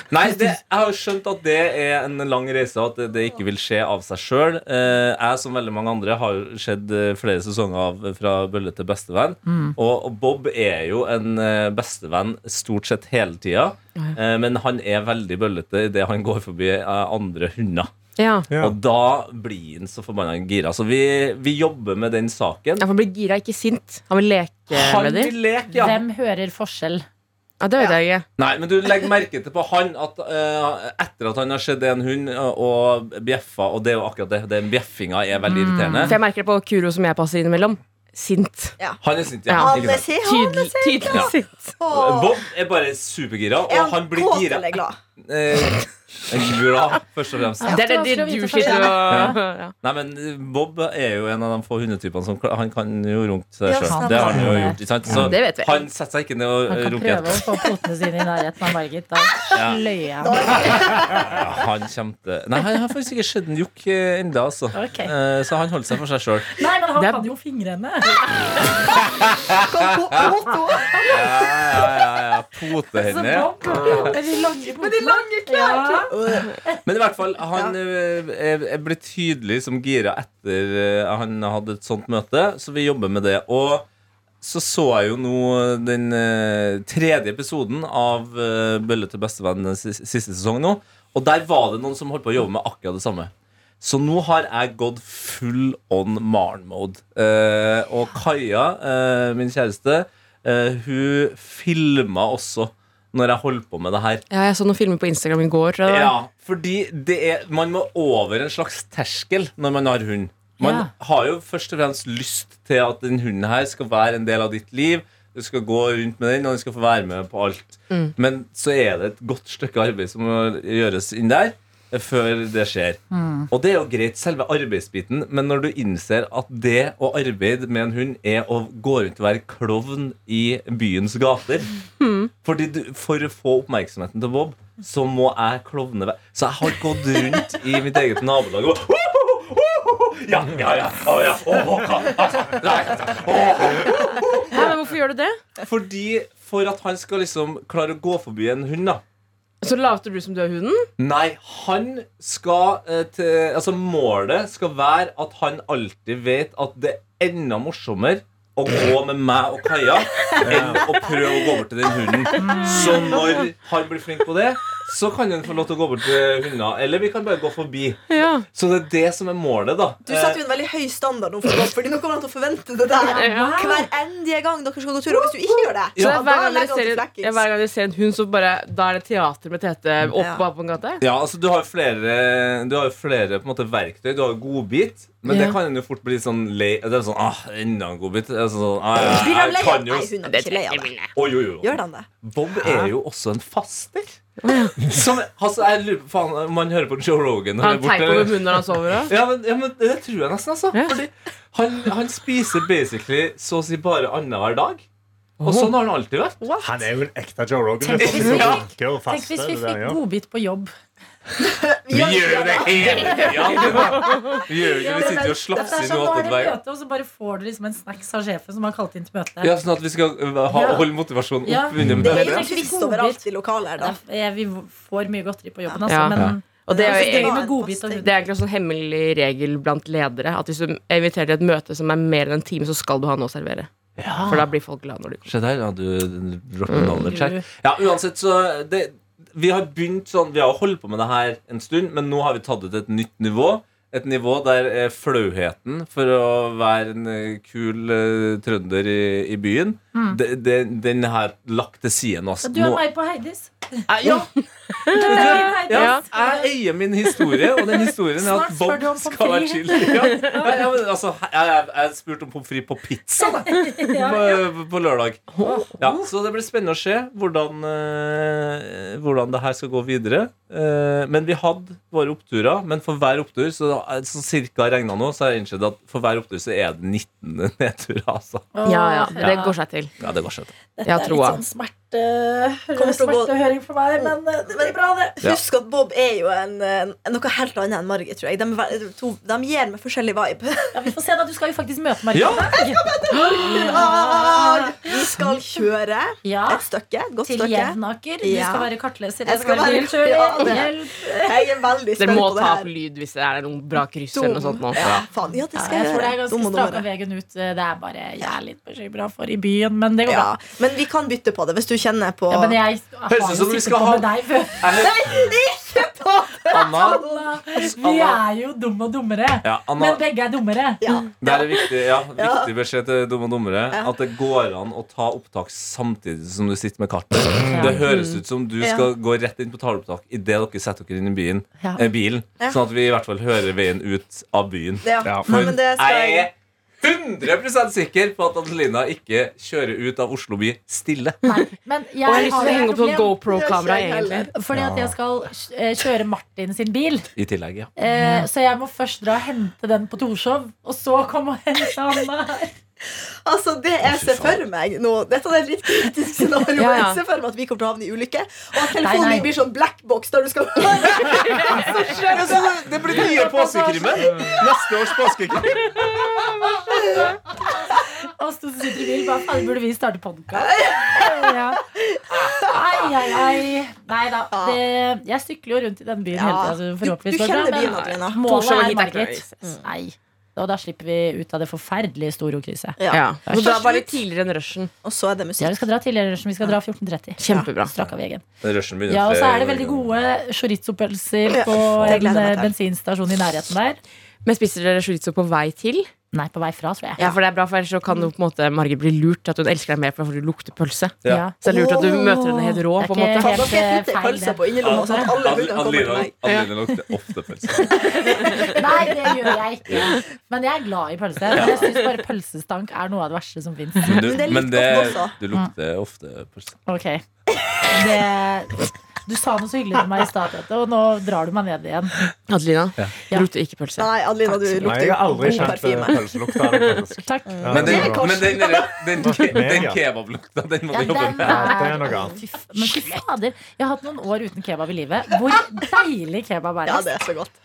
C: Nei, det, jeg har jo skjønt at det er en lang reise, og at det- det ikke vil skje av seg sjøl. Jeg, som veldig mange andre, har jo sett eh, flere sesonger av Fra bølle til bestevenn.
E: Mm.
C: Og, og Bob er jo en eh, bestevenn stort sett hele tida. Eh, Men han er veldig bøllete idet han går forbi eh, andre hunder.
E: Ja.
G: Ja.
C: Og da blir han så forbanna gira. Så vi, vi jobber med den saken.
E: Ja, for Han blir gira, ikke sint. Han vil leke
C: Han
E: med dem.
C: vil leke, ja.
B: Hvem hører forskjell?
E: Ja, det vet jeg ikke.
C: Nei, men du legger merke til på han at eh, etter at han har sett en hund eh, og bjeffa, og det er jo akkurat det, den bjeffinga er veldig
E: For
C: irriterende.
E: jeg merker det på Kuro som jeg passer innimellom. Sint.
C: Han er sint, ja.
E: Ja.
C: Ikke
F: Hanne,
C: sant?
F: se, Hanne,
E: Tydelig, tydelig
C: Ja.
E: sint.
F: se på!
C: Bob er bare supergira,
F: Er
C: og han blir
F: kåt
C: gira.
F: eller glad?
C: eh, glad, først og fremst.
E: Det er det
B: vanskelig å
E: de- du
B: vite
E: sitter og ja.
C: Nei, men Bob er jo en av de få hundetypene som kla- Han kan jo runke seg
F: Ja,
C: sjøl.
F: sant.
C: Det har han jo gjort. Ikke sant? Så
E: Det vet vi.
C: han setter seg ikke ned og
B: Han
C: eh,
B: kan
C: runker.
B: prøve å få potene sine i nærheten av Margit. Da sløyer jeg ham.
C: Ja, han kommer til Nei, han har faktisk ikke sett en jokk ennå, altså.
B: Ok.
C: Eh, Så han holder seg for seg sjøl.
B: Nei, men han
E: Det er-
B: kan jo fingrene.
C: [laughs] Ja, ja, ja, ja. Potehender.
B: Med de lange potene. Ja.
C: Men i hvert fall, han eh, ja. ble tydelig som gira etter eh, han hadde et sånt møte, så vi jobber med det. Og så så jeg jo nå den eh, tredje episoden av eh, Bølle til bestevenn den sis- siste sesong nå, og der var det noen som holdt på å jobbe med akkurat det samme. Så nå har jeg gått full on Maren-mode. Eh, og Kaja, eh, min kjæreste, eh, hun filma også når jeg holdt på med det her.
E: ja, jeg så noen filmer på Instagram i går. tror jeg det var.
C: Ja, fordi det er, man må over en slags terskel når man har hund. Man
B: Ja.
C: har jo først og fremst lyst til at den hunden her skal være en del av ditt liv. Du skal gå rundt med den, og den skal få være med på alt. Men så er det et godt stykke arbeid som må gjøres inn der eh, før det skjer. Og det er jo greit, selve arbeidsbiten, men når du innser at det å arbeide med en hund er å gå rundt og være klovn i byens gater fordi du, For å få oppmerksomheten til Bob, så må jeg klovne vei. Så jeg har gått rundt i mitt eget nabolag og Ja, ja, ja. Å, ja. Å, å, ka- altså, nei, altså.
E: Hæ, men hvorfor gjør du det?
C: Fordi For at han skal liksom klare å gå forbi en hund, da.
E: Så later du som du er hunden?
C: Nei, han skal eh, til, Altså, målet skal være at han alltid vet at det er enda morsommere å gå med meg og Kaja enn å prøve å gå bort til den hunden. Så
F: Mm.
C: når han blir flink på det, så kan han få lov til å gå bort til hunder. Eller vi kan bare gå forbi.
E: Ja.
C: Så det er det som er målet, da.
F: Du setter jo en veldig høy standard nå, for Bob, Fordi nå kommer han til å forvente det der
E: Ja.
F: hver endige gang dere skal gå tur. Og hvis du ikke gjør det,
E: Så
F: ja, da
E: hver, gang dere
F: legger han
E: ser,
F: til
E: ja,
F: flekkings.
E: hver gang dere ser en hund, så bare Da er det teater med Tete opp
F: Ja.
E: på Apongata?
C: Ja, altså Du har jo flere, du har jo flere på en måte, verktøy. Du har jo godbit, men
E: Ja.
C: det kan jo fort bli sånn lei Det er sånn, ah, Enda en godbit. Det er Sånn, ah, jeg,
F: Blir han
C: jeg
F: lei av
C: kan
F: det?
C: jo
F: Nei, hun er ikke lei av det.
C: Oi, oi, oi.
F: Gjør han det?
C: Bob er jo også en faster. Som, altså, jeg lurer på faen, om han hører på Joe Rogan. når
E: Han
C: jeg er borte,
E: teiper
C: eller?
E: over munnen når han sover òg?
C: ja, men, ja, men Det tror jeg nesten, altså.
E: Ja.
C: Fordi han, han spiser basically så å si bare annenhver dag. Og sånn har han alltid vært.
G: Han er jo en ekte Joe Rogan.
B: Tenk hvis vi
G: Ja.
B: fikk- Tenk hvis vi fikk godbit på jobb.
C: Vi gjør jo det hele tida! Vi gjør jo ikke Vi sitter jo og
B: Dette
C: slafser
B: er
C: i
B: sånn, nå er det
C: nåtedvei.
B: møte, og så bare får du liksom en snacks av sjefen som har kalt inn til møte.
C: Ja, sånn at vi skal uh, ha,
B: Ja.
C: holde motivasjonen
B: Ja.
C: opp under
F: Det er
B: det
F: jo
B: er
C: det.
F: sånn kvist
B: godbit.
F: overalt i lokalet her, da.
B: Det er- Vi får mye godteri på jobben, altså,
E: Ja.
B: men
E: Og det er,
F: Jeg
E: jo
F: synes det
E: egentlig-
F: var
B: med godbit og
F: en fast ting.
E: det er egentlig også en hemmelig regel blant ledere at hvis du er invitert til et møte som er mer enn en time, så skal du ha noe å servere. For da blir folk glad når du kommer.
C: Se der, ja, du du dropper navnet check. Ja, uansett, så det, Vi har begynt sånn, vi har holdt på med det her en stund, men nå har vi tatt det til et nytt nivå. Et nivå der eh, flauheten for å være en eh, kul eh, trønder i, i byen, det, det, den har lagt til side nå. ass.
B: Du er
C: Nå- Eh,
B: meg på Heidis.
C: Ja,
B: [laughs] Du er min Heidis.
C: ja, jeg eier min historie, og den historien er
B: Snart
C: at
B: spør
C: Bob
B: du om pommes
C: skal være chill. Ja. Ja, ja, men altså, jeg, jeg, jeg spurte om pommes frites på
B: [laughs]
C: pizza da, på, på lørdag. Ja, så det blir spennende å se hvordan, eh, hvordan det her skal gå videre. Eh, men vi hadde våre oppturer, men for hver opptur så, så cirka regna nå, så har jeg innsett at for hver opptur så er det 19 nedturer. Altså.
E: Ja, ja, Det går seg til.
C: Ja, det går seg til.
E: Jeg har troa.
B: sånn- smerte,
F: Kommer til å gå-
B: smertehøring for meg, men eh, det er veldig bra, det.
C: Ja.
F: Husk at Bob er jo en, en, noe helt annet enn Margit, tror jeg. De, er ve- to, de gir meg forskjellig vibe.
B: Ja, vi får se, da. Du skal jo faktisk møte Marie.
C: Ja.
F: Ah, Vi skal kjøre
B: Ja,
F: et stykke. Et godt
B: Til
F: stykke.
B: Jevnaker. Du
F: Ja.
B: skal være kartleser.
F: Jeg
B: Jeg skal
F: skal
B: være
F: være-
B: bilkjører.
F: Ja, det-
B: Hjelp.
F: Jeg er veldig
E: Dere
F: spent
E: må
F: på det
E: ta opp
F: her.
E: lyd hvis det er noen bra kryss eller noe sånt nå.
F: Ja, faen. ja, det skal
B: Jeg
F: jeg
B: tror det er
F: gjøre.
B: ganske
F: Dum og
B: straka
F: dummere.
B: veien ut. Det er bare jeg er litt bekymra for i byen, men det går
F: Ja,
B: bra.
F: men vi kan bytte på det hvis du kjenner på
B: Ja, men jeg har
C: Høres ut som
B: jo
C: vi
B: sittet
C: skal
B: på
C: ha-
B: med deg før.
C: Anna,
B: Vi er jo dumme og dummere.
C: ja, Anna
B: Men begge er dummere.
F: ja.
C: Det er en viktig, ja,
F: [laughs] Ja.
C: viktig beskjed til dumme og dummere.
F: Ja.
C: At det går an å ta opptak samtidig som du sitter med kartet. Det høres ut som du
F: Ja.
C: skal gå rett inn på taleopptak idet dere setter dere inn i byen,
B: Ja.
C: eh, bilen.
F: Ja.
C: Sånn at vi i hvert fall hører veien ut av byen.
F: Ja.
G: Ja.
F: Nei, men det skal
C: jeg
F: jeg
C: er 100 sikker på at Adelina ikke kjører ut av Oslo by stille.
B: Nei, men jeg
E: Og jeg har lyst til å
B: et
E: henge opp sånn
B: problem,
E: GoPro-kamera,
F: Det er ikke jeg
E: egentlig.
B: Fordi at jeg skal eh, kjøre Martin sin bil.
C: I tillegg, ja.
B: Eh, så jeg må først dra og hente den på Torshov, og så komme og hente han der.
F: Altså, Det jeg ser for meg nå Dette er et litt kritisk scenario.
E: Ja, ja.
F: Jeg ser for meg at vi kommer til å havne i ulykke, og at
B: Nei,
F: telefonen
B: nei.
F: min blir sånn blackbox der du skal [laughs] altså-
C: det blir den nye påskekrimmen! Neste års påskekrim.
B: Og så sitter i bilen bare Faen, burde vi starte podkast? Ja. Ai, ai, ai. Nei da. Det, jeg sykler jo rundt i den byen
F: Ah. Ja.
B: hele tida.
F: Du, du
B: Forhåpentligvis går det bra.
F: kjenner byen,
B: Men
F: Adelina. Mm.
B: målet
E: Torshov
B: er
E: hit er ikke
B: Margaret. Nei. Og da slipper vi ut av det forferdelige Storo-krysset.
E: Ja. Så
F: Så
E: da var det
F: slutt.
E: tidligere enn rushen.
F: Og så er det
B: Ja,
F: musikk.
B: vi skal dra tidligere, Rushden. vi skal dra 14.30.
E: Kjempebra.
B: Strakk av veggen.
C: Rushen begynner
B: Ja, og så
C: flere
B: er det veldig
C: ganger.
B: gode chorizo-pølser
F: Ja,
B: på
F: det
B: en
F: gleder jeg
B: eh,
F: meg til.
B: bensinstasjon i nærheten der.
E: Men spiser dere chorizo på vei til?
B: Nei, på vei fra, tror jeg.
E: Ja, for det er bra, for ellers så kan jo på en måte Margit bli lurt at hun elsker deg mer fordi du lukter pølse.
C: Ja.
E: Så det er lurt at du
F: Åh.
E: møter henne helt
B: Det
E: rå,
B: er
E: på en måte.
B: ikke-
F: Faen, dere
B: helt, eh,
F: putter
B: feil,
F: pølse
B: det.
F: på innerlomma, sånn at alle hundene kommer til
C: Adelina
F: meg.
C: Adelina lukter ofte pølse.
B: Nei, det gjør jeg ikke. Men jeg er glad i pølse. Jeg syns bare pølsestank er noe av det verste som fins.
C: Men, du,
F: Men det er litt
C: men det,
F: godt også.
C: du lukter ofte pølse.
B: Ok det, Du sa noe så hyggelig til meg i stad, Tete, og nå drar du meg ned igjen.
E: Adelina,
B: Ja.
E: lukter ikke pølse.
F: Nei, Adelina, du
G: Nei, jeg
F: lukter
G: har aldri
F: god
G: kjent eh,
F: parfyme.
G: pølselukt av det.
E: [laughs]
G: faktisk.
B: Takk.
G: Ja,
C: Men
G: det
C: den,
G: er bra.
C: men den, derre- den, ke-
G: Meg,
C: den
G: ja.
C: kebablukta, den må
B: Ja,
C: du jobbe
B: den
C: med.
G: Ja, det er noe annet.
B: Fy f- Men fy fader, jeg har hatt noen år uten kebab i livet. Hvor deilig kebab er.
F: Ja, det er så godt.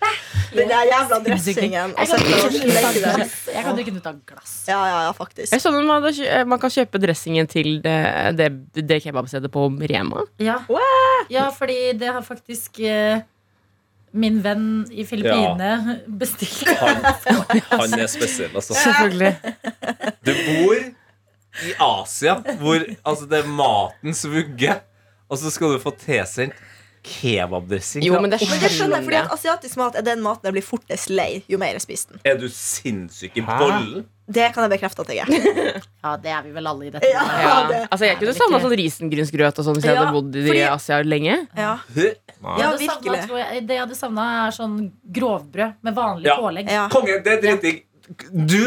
F: Den der jævla dressingen. Og
B: Jeg
F: så
B: kan drikke den ut av
F: legge det sånn
B: glass. Jeg kan drikke den ut av glass.
F: Ja, ja, ja, faktisk.
E: Jeg så noen man, hadde kjø- man kan kjøpe dressingen til det, det, det kebabstedet på Rema.
B: Ja. ja, fordi det har faktisk eh, min venn i Filippinene bestilt.
C: Han, han er spesiell, altså.
E: Selvfølgelig.
C: Du bor i Asia, hvor altså, det er matens vugge, og så skal du få tilsendt kebabdressing.
E: Jo, men det
F: Men det skjønner jeg, fordi
E: skjønner
F: at asiatisk mat er den maten jeg blir fortest lei jo mer jeg spiser den.
C: Er du sinnssyk i
G: Hæ?
C: bollen?
F: Det kan jeg bekrefte at jeg er.
B: Ja, det er vi vel alle i dette.
F: Ja,
E: ja.
F: det.
E: Altså, Jeg kunne
B: det er
E: savna
B: ikke-
E: sånn risengrynsgrøt og sånn hvis jeg hadde
F: Ja,
E: bodd i
F: fordi-
E: Asia lenge.
F: Ja,
G: Nei.
F: ja
B: Jeg hadde savnet,
F: virkelig.
B: tror jeg, det jeg hadde savna, er sånn grovbrød med vanlig
C: Ja.
B: pålegg.
F: Ja.
C: Konge, det er dritdigg. Du,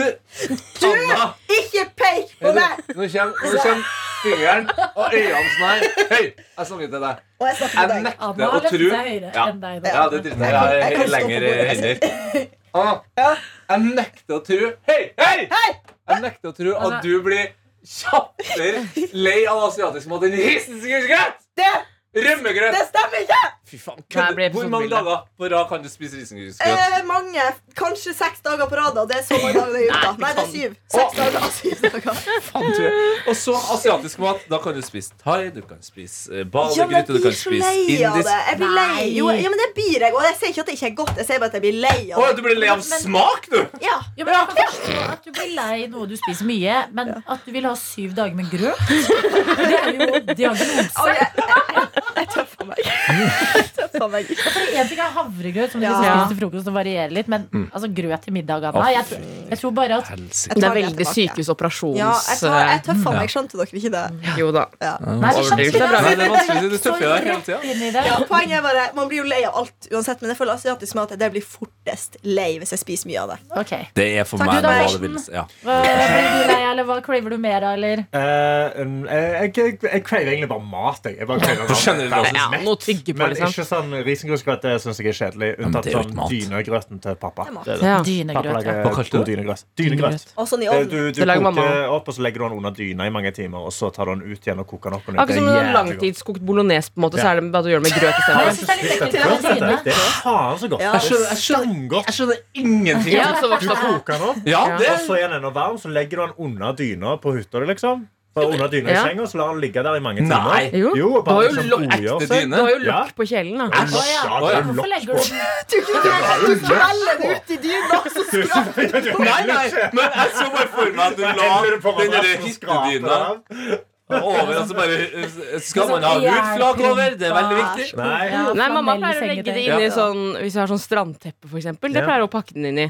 C: Anna
F: Ikke peik på meg!
C: Nå kommer, nå kommer fingeren og øynene sånn her. Høy, jeg snakker til deg.
F: Og jeg snakker
C: Jeg
F: med deg.
B: Anna
C: nekter
B: har
C: å
B: løftet
C: tro
B: seg høyere
C: ja.
B: enn deg.
C: Ja, det driter jeg i. Jeg
F: Jeg
C: har
F: kan stå
C: lengre
F: på bordet. [laughs]
C: hender. Anna, jeg nekter å tro Hei, hei! Jeg nekter å tro at du blir kjappere lei av asiatisk mat enn risengrynsgrøt!
F: Det-
C: Rømmegrøt!
F: Det stemmer ikke!
C: Fy faen,
E: Nei, jeg
C: kødder.
E: ble
C: Hvor mange
E: episodebildet.
C: dager på rad kan du spise risengrynsgrøt?
F: Eh, mange. Kanskje seks dager på rad. da. Det er så mange dager i uka. Nei, det er syv. Seks dager. Syv dager.
C: Faen, tror jeg. Og så asiatisk mat. Da kan du spise thai, du kan spise eh,
F: Ja, men jeg
C: badegryte, du
F: blir
C: kan
F: så
C: spise
F: lei av det.
C: indisk
F: Jeg blir lei.
B: Nei.
F: Jo, ja, men det blir jeg. Og jeg sier ikke at det ikke er godt. Jeg sier bare at jeg blir lei
C: Å,
F: av
C: du
F: det.
C: blir lei av
B: Men-
C: smak, du!
F: Ja.
B: Jo, men jeg kan forstå at du blir lei noe du spiser mye, men at du vil ha syv dager med grøt Det er jo diagnose.
F: Ok, jeg- [laughs] Jeg tøffer meg. Jeg tøffer meg.
B: En ting er havregrøt, som du
F: Ja.
B: liksom spiser til frokost og varierer litt, men
C: Mm.
B: altså, grøt til middag Anna. Jeg, tror- jeg tror bare at
C: Helsike.
F: Jeg
E: Det
F: tar
E: er veldig
F: tilbake.
E: sykehusoperasjons... eh,
F: Ja, jeg, tar, jeg tøffer meg. Skjønte dere ikke det?
E: Jo da.
B: Nei, så skjønner
E: Overdrivelse er
B: jeg
E: bra.
C: Nei, det er vanskelig. Du
B: Så
C: tøffer deg hele
B: rett
C: tida.
B: inn i det.
F: Poenget er bare, Man blir jo lei av alt uansett, men jeg føler asiatisk mat det blir fortest lei hvis jeg spiser mye av det.
B: Ok.
C: Det er for
B: Takk, meg du da, noe av det Morten.
C: villeste. Ja.
B: Hva blir du lei, eller hva craver du mer av, eller?
G: Eh, um, jeg, jeg, jeg craver egentlig bare mat. Jeg. Jeg bare craver
C: [laughs] På
G: mat.
C: generell basis.
E: Ja, noe å tygge på,
G: Men
E: liksom.
G: ikke sånn risengrynsgrøt. Det syns jeg er kjedelig.
C: men det
G: Unntatt
C: er jo
G: sånn
C: ikke mat.
G: dynegrøten til pappa.
F: Det er mat.
G: Det er det.
E: Ja.
G: Pappa
B: Dynegrøt. ja.
G: lager
C: Hva kalte
G: god
C: du det?
G: dynegrøt. Dynegrøt.
F: Og sånn i
G: Det-
F: ovnen.
G: Du, du
E: Det lager
G: koker
E: mamma.
G: opp, og så legger du den under dyna i mange timer, og så tar du den ut igjen og koker den opp. på nytt.
E: Akkurat som
G: Det er
E: en
G: jævlig godt.
E: langtidskokt bolognese, på en måte, så er det bare å gjøre det med grøt
B: Jeg
G: [laughs]
E: istedenfor.
B: synes det er litt
G: Det er
B: ekkelt med
G: godt,
B: dyne.
G: dette. Det er faen så godt.
F: Ja.
G: Det er skamgodt.
C: Jeg skjønner ingenting.
E: Ja, så
G: Du
E: vokste jeg opp.
G: koker den opp,
C: Ja, det
G: og så er den ennå varm, så legger du den under dyna på hytta di, liksom. Bare Under dyna i
E: Ja.
G: senga, så lar den ligge der i mange timer.
C: Nei.
E: Jo.
G: Jo, og
E: Du har
G: bare
E: jo
G: liksom
E: lokk-
G: godgjør
C: ekte
G: seg.
E: Du har jo
G: Ja.
E: lokk på kjelen, da.
G: Æsj.
C: Å,
G: det
C: ja.
G: er
B: Hvorfor
G: lokk
B: legger
G: på.
B: du den
F: Du smeller det ut i dyna, så
C: Nei, nei, [laughs] men jeg så bare for meg at du la den der hyttedyna over, og så Altså, bare eh, Skal man ha utflak over? Det er veldig viktig.
G: Nei.
B: Ja,
E: Nei, mamma
B: flanell
E: pleier å legge
B: sengetøy.
E: det inn
C: Ja.
E: i sånn Hvis jeg har sånn strandteppe, for eksempel. Det
G: Ja.
E: pleier jeg å pakke den inn i.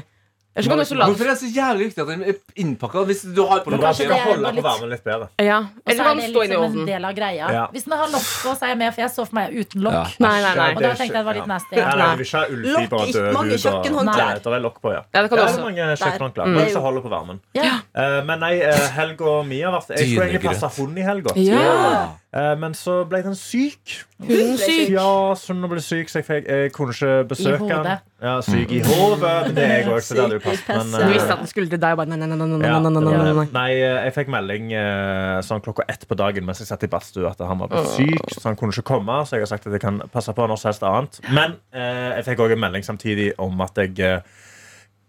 E: Eller så kan du også la
C: Hvorfor er det så jævlig viktig at den er innpakka? Hvis du har på
B: Kanskje
G: Skal
B: det er
G: holde
B: bare
G: på
B: litt-
G: varmen litt bedre.
E: ja.
B: Og så
E: Eller
B: er
E: kan den
B: det
E: stå
B: liksom
E: inn i
B: en
E: ovnen.
B: del av greia.
G: Ja.
B: Hvis den har lokk på, så er jeg med, for jeg så for meg uten
C: Ja.
B: lokk.
E: Nei, nei, nei.
B: Og da tenkte jeg det var litt nasty.
G: Ja, nei, du vil ikke ha
F: Lokk
G: ullfiber og
F: i-
G: død
F: mange
G: hud og
F: kjøkkenhåndklær.
G: Nei, det er lokk på, ja.
E: Ja, det
G: Ja,
E: kan du
G: det er
E: også.
G: mange kjøkkenhåndklær.
F: Mm.
G: Men hvis jeg holder på varmen.
B: Ja.
G: Eh, men nei, eh, Helg og Mia var Jeg skulle egentlig
C: Dynegrøt.
G: passe hund i helga.
E: Ja.
G: Eh, men så ble den syk.
E: Hundsyk.
G: Ja, så hun ble syk, så jeg, fikk, jeg kunne ikke besøke
B: hodet.
G: den. Ja, syk i hodet. Men det er jeg òg, så det hadde jo
F: Syk i
G: passet. Men,
E: Du
F: passet.
G: eh,
E: visste at den skulle til deg, og bare nei, nei, nei, nei, nei,
G: ja,
E: nei, nei, nei, nei, nei.
G: Nei, eh, jeg fikk melding eh, sånn klokka ett på dagen mens jeg satt i badstua at han var blitt syk, så han kunne ikke komme. Så jeg har sagt at jeg kan passe på når som helst annet. Men eh, jeg fikk òg en melding samtidig om at jeg eh,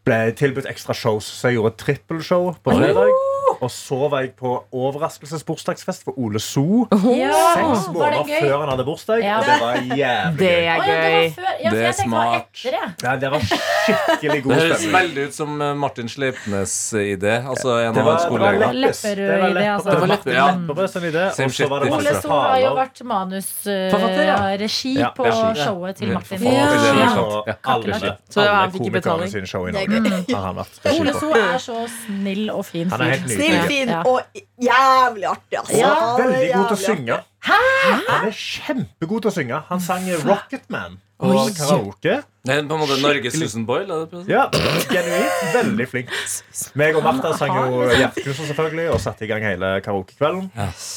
G: ble tilbudt ekstra shows, så jeg gjorde et trippelshow på fredag. Og så var jeg på overraskelsesbursdagsfest for Ole So seks
B: Ja. Var det
G: måneder
B: gøy?
G: før han hadde bursdag.
B: Ja.
G: Og det var jævlig
E: Det
G: gøy.
B: Å,
E: er
B: ja, det var
E: gøy.
B: før. Ja, for
C: Det er
B: jeg tenkte det var
C: smart.
B: etter det.
G: Nei, det var skikkelig
C: Det
G: god
C: høres
G: stemning.
C: veldig ut som eh, Martin Sleipnes-idé. Altså en
G: Det
C: av
G: var,
C: hans
G: det var
C: kollegaer.
G: leppes. Det var
B: Lepperød-idé,
G: lepp-
B: altså.
G: det var
C: Det var lepp-
G: lepperød sin idé,
C: Same
G: og så var det
C: shit,
B: Ole
G: masse
C: different.
B: Stor har jo
G: taler.
B: vært manus eh,
C: Forfatter, ja.
B: regi
G: Ja,
B: på
G: regi, ja.
B: showet til
C: Ja,
B: Martin.
G: Ja.
C: Ja.
B: Ja.
G: Så sånn alle,
B: Kakerlakk.
E: Så han
G: alle
E: fikk ikke
G: komikerne
E: betaling.
G: sine show i
F: Det er
G: Norge har han vært. Det er
B: Ole
G: skikkelig.
B: So er så snill og fin
G: Han
B: fyr.
G: er helt nydelig.
F: Snill, fin
B: Ja.
F: og jævlig artig, altså.
B: Ja.
F: Han
G: Veldig
F: er
G: god til å
F: jævlig
G: synge. Han er kjempegod til å synge. Han sang Rocket Man på karaoke.
C: Det er på en måte Norges Susan Boyle? Er det på-
G: Ja, Genuint veldig flink. Meg og Martha sang jo Hjertekunsten selvfølgelig og satte i gang hele karaokekvelden.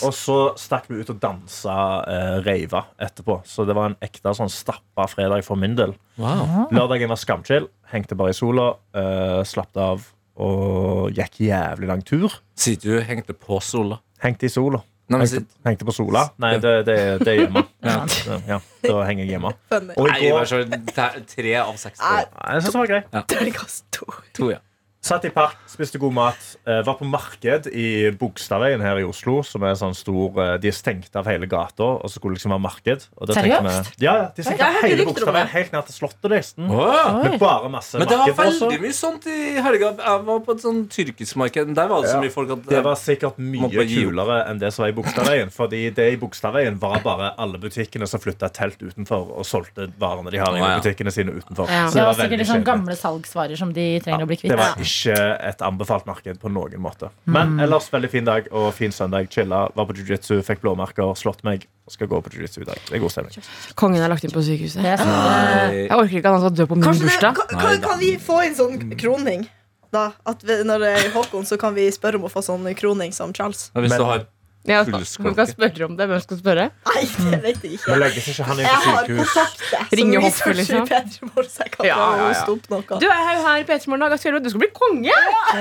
G: Og så stakk vi ut og dansa eh, reiva etterpå. Så det var en ekte sånn stappa fredag for min del. Lørdagen var skamchill. Hengte bare i sola. Eh, slappet av og gikk jævlig lang tur.
C: Sitter du og hengte på sola?
G: Hengte i sola.
C: Nei, men
G: Hengte,
C: sitt-
G: hengte på sola. Nei, det, det, det er hjemme. Ja. ja, Da henger jeg hjemme.
F: Funny.
G: Og i
C: Nei, vær
G: går
C: så snill, Tre av seks.
F: Nei.
G: Nei, Jeg synes det var greit.
F: Terningkast to.
C: To, ja.
G: Satt i park, spiste god mat. eh, Var på marked i Bogstadveien her i Oslo. Som er sånn stor eh, De er stengt av hele gata, og så skulle det liksom være marked. Og da tenkte
B: Seriøst?
G: Vi, ja, ja, de stengte
F: Jeg har
G: av
F: ikke
G: hele
F: rykter om
G: Bogstadveien, helt ned til Slottet, nesten.
C: Åh!
G: Med bare masse
C: Men det var
G: marked. også.
C: veldig mye sånt i helga. Jeg var på et sånn tyrkisk marked. Der var det så mye folk at
G: Det var sikkert
C: Må
G: mye
C: bare gi opp.
G: kulere enn det som var i Bogstadveien. Fordi det i Bogstadveien var bare alle butikkene som flytta telt utenfor og solgte varene de har
C: Å,
G: i
C: ja.
G: butikkene sine utenfor.
E: Ja.
B: Det var
G: veldig
B: sikkert liksom
G: kjedelig.
B: gamle salgsvarer som de trenger å bli
G: Det
B: kvitt. Mm.
G: var ikke et anbefalt marked på noen måte. Men ellers veldig fin dag og fin søndag. Chilla, var på jiu-jitsu, fikk blåmerker, slått meg. Og skal gå på jiu-jitsu i dag. Det er god stemning.
E: Kongen er lagt inn på sykehuset.
B: Jeg synes det-
G: Ah.
B: sånn, eh,
C: Nei.
E: Jeg orker ikke at han skal dø på min
F: Kanskje det,
E: bursdag.
F: kan, kan, kan vi få inn sånn kroning? Da, at vi, når det er Håkon, så kan vi spørre om å få sånn kroning som Charles.
C: Hvis
G: Men-
C: du har
E: Ja,
C: Fullskål.
E: man kan spørre om det. Hvem skal spørre?
F: Nei, det vet jeg ikke.
G: Men legges ikke han inn
F: Jeg
G: på
F: har
G: sykehus?
F: kontakter som
E: Ringe hoffet,
F: researcher
E: liksom.
F: i Petremorgen, så jeg
E: Ja,
F: kan
E: ja,
F: prøve å
E: ja.
F: hoste opp noe.
E: Du er jo her i P3 Morgen i dag. Aksel, Du skal bli konge!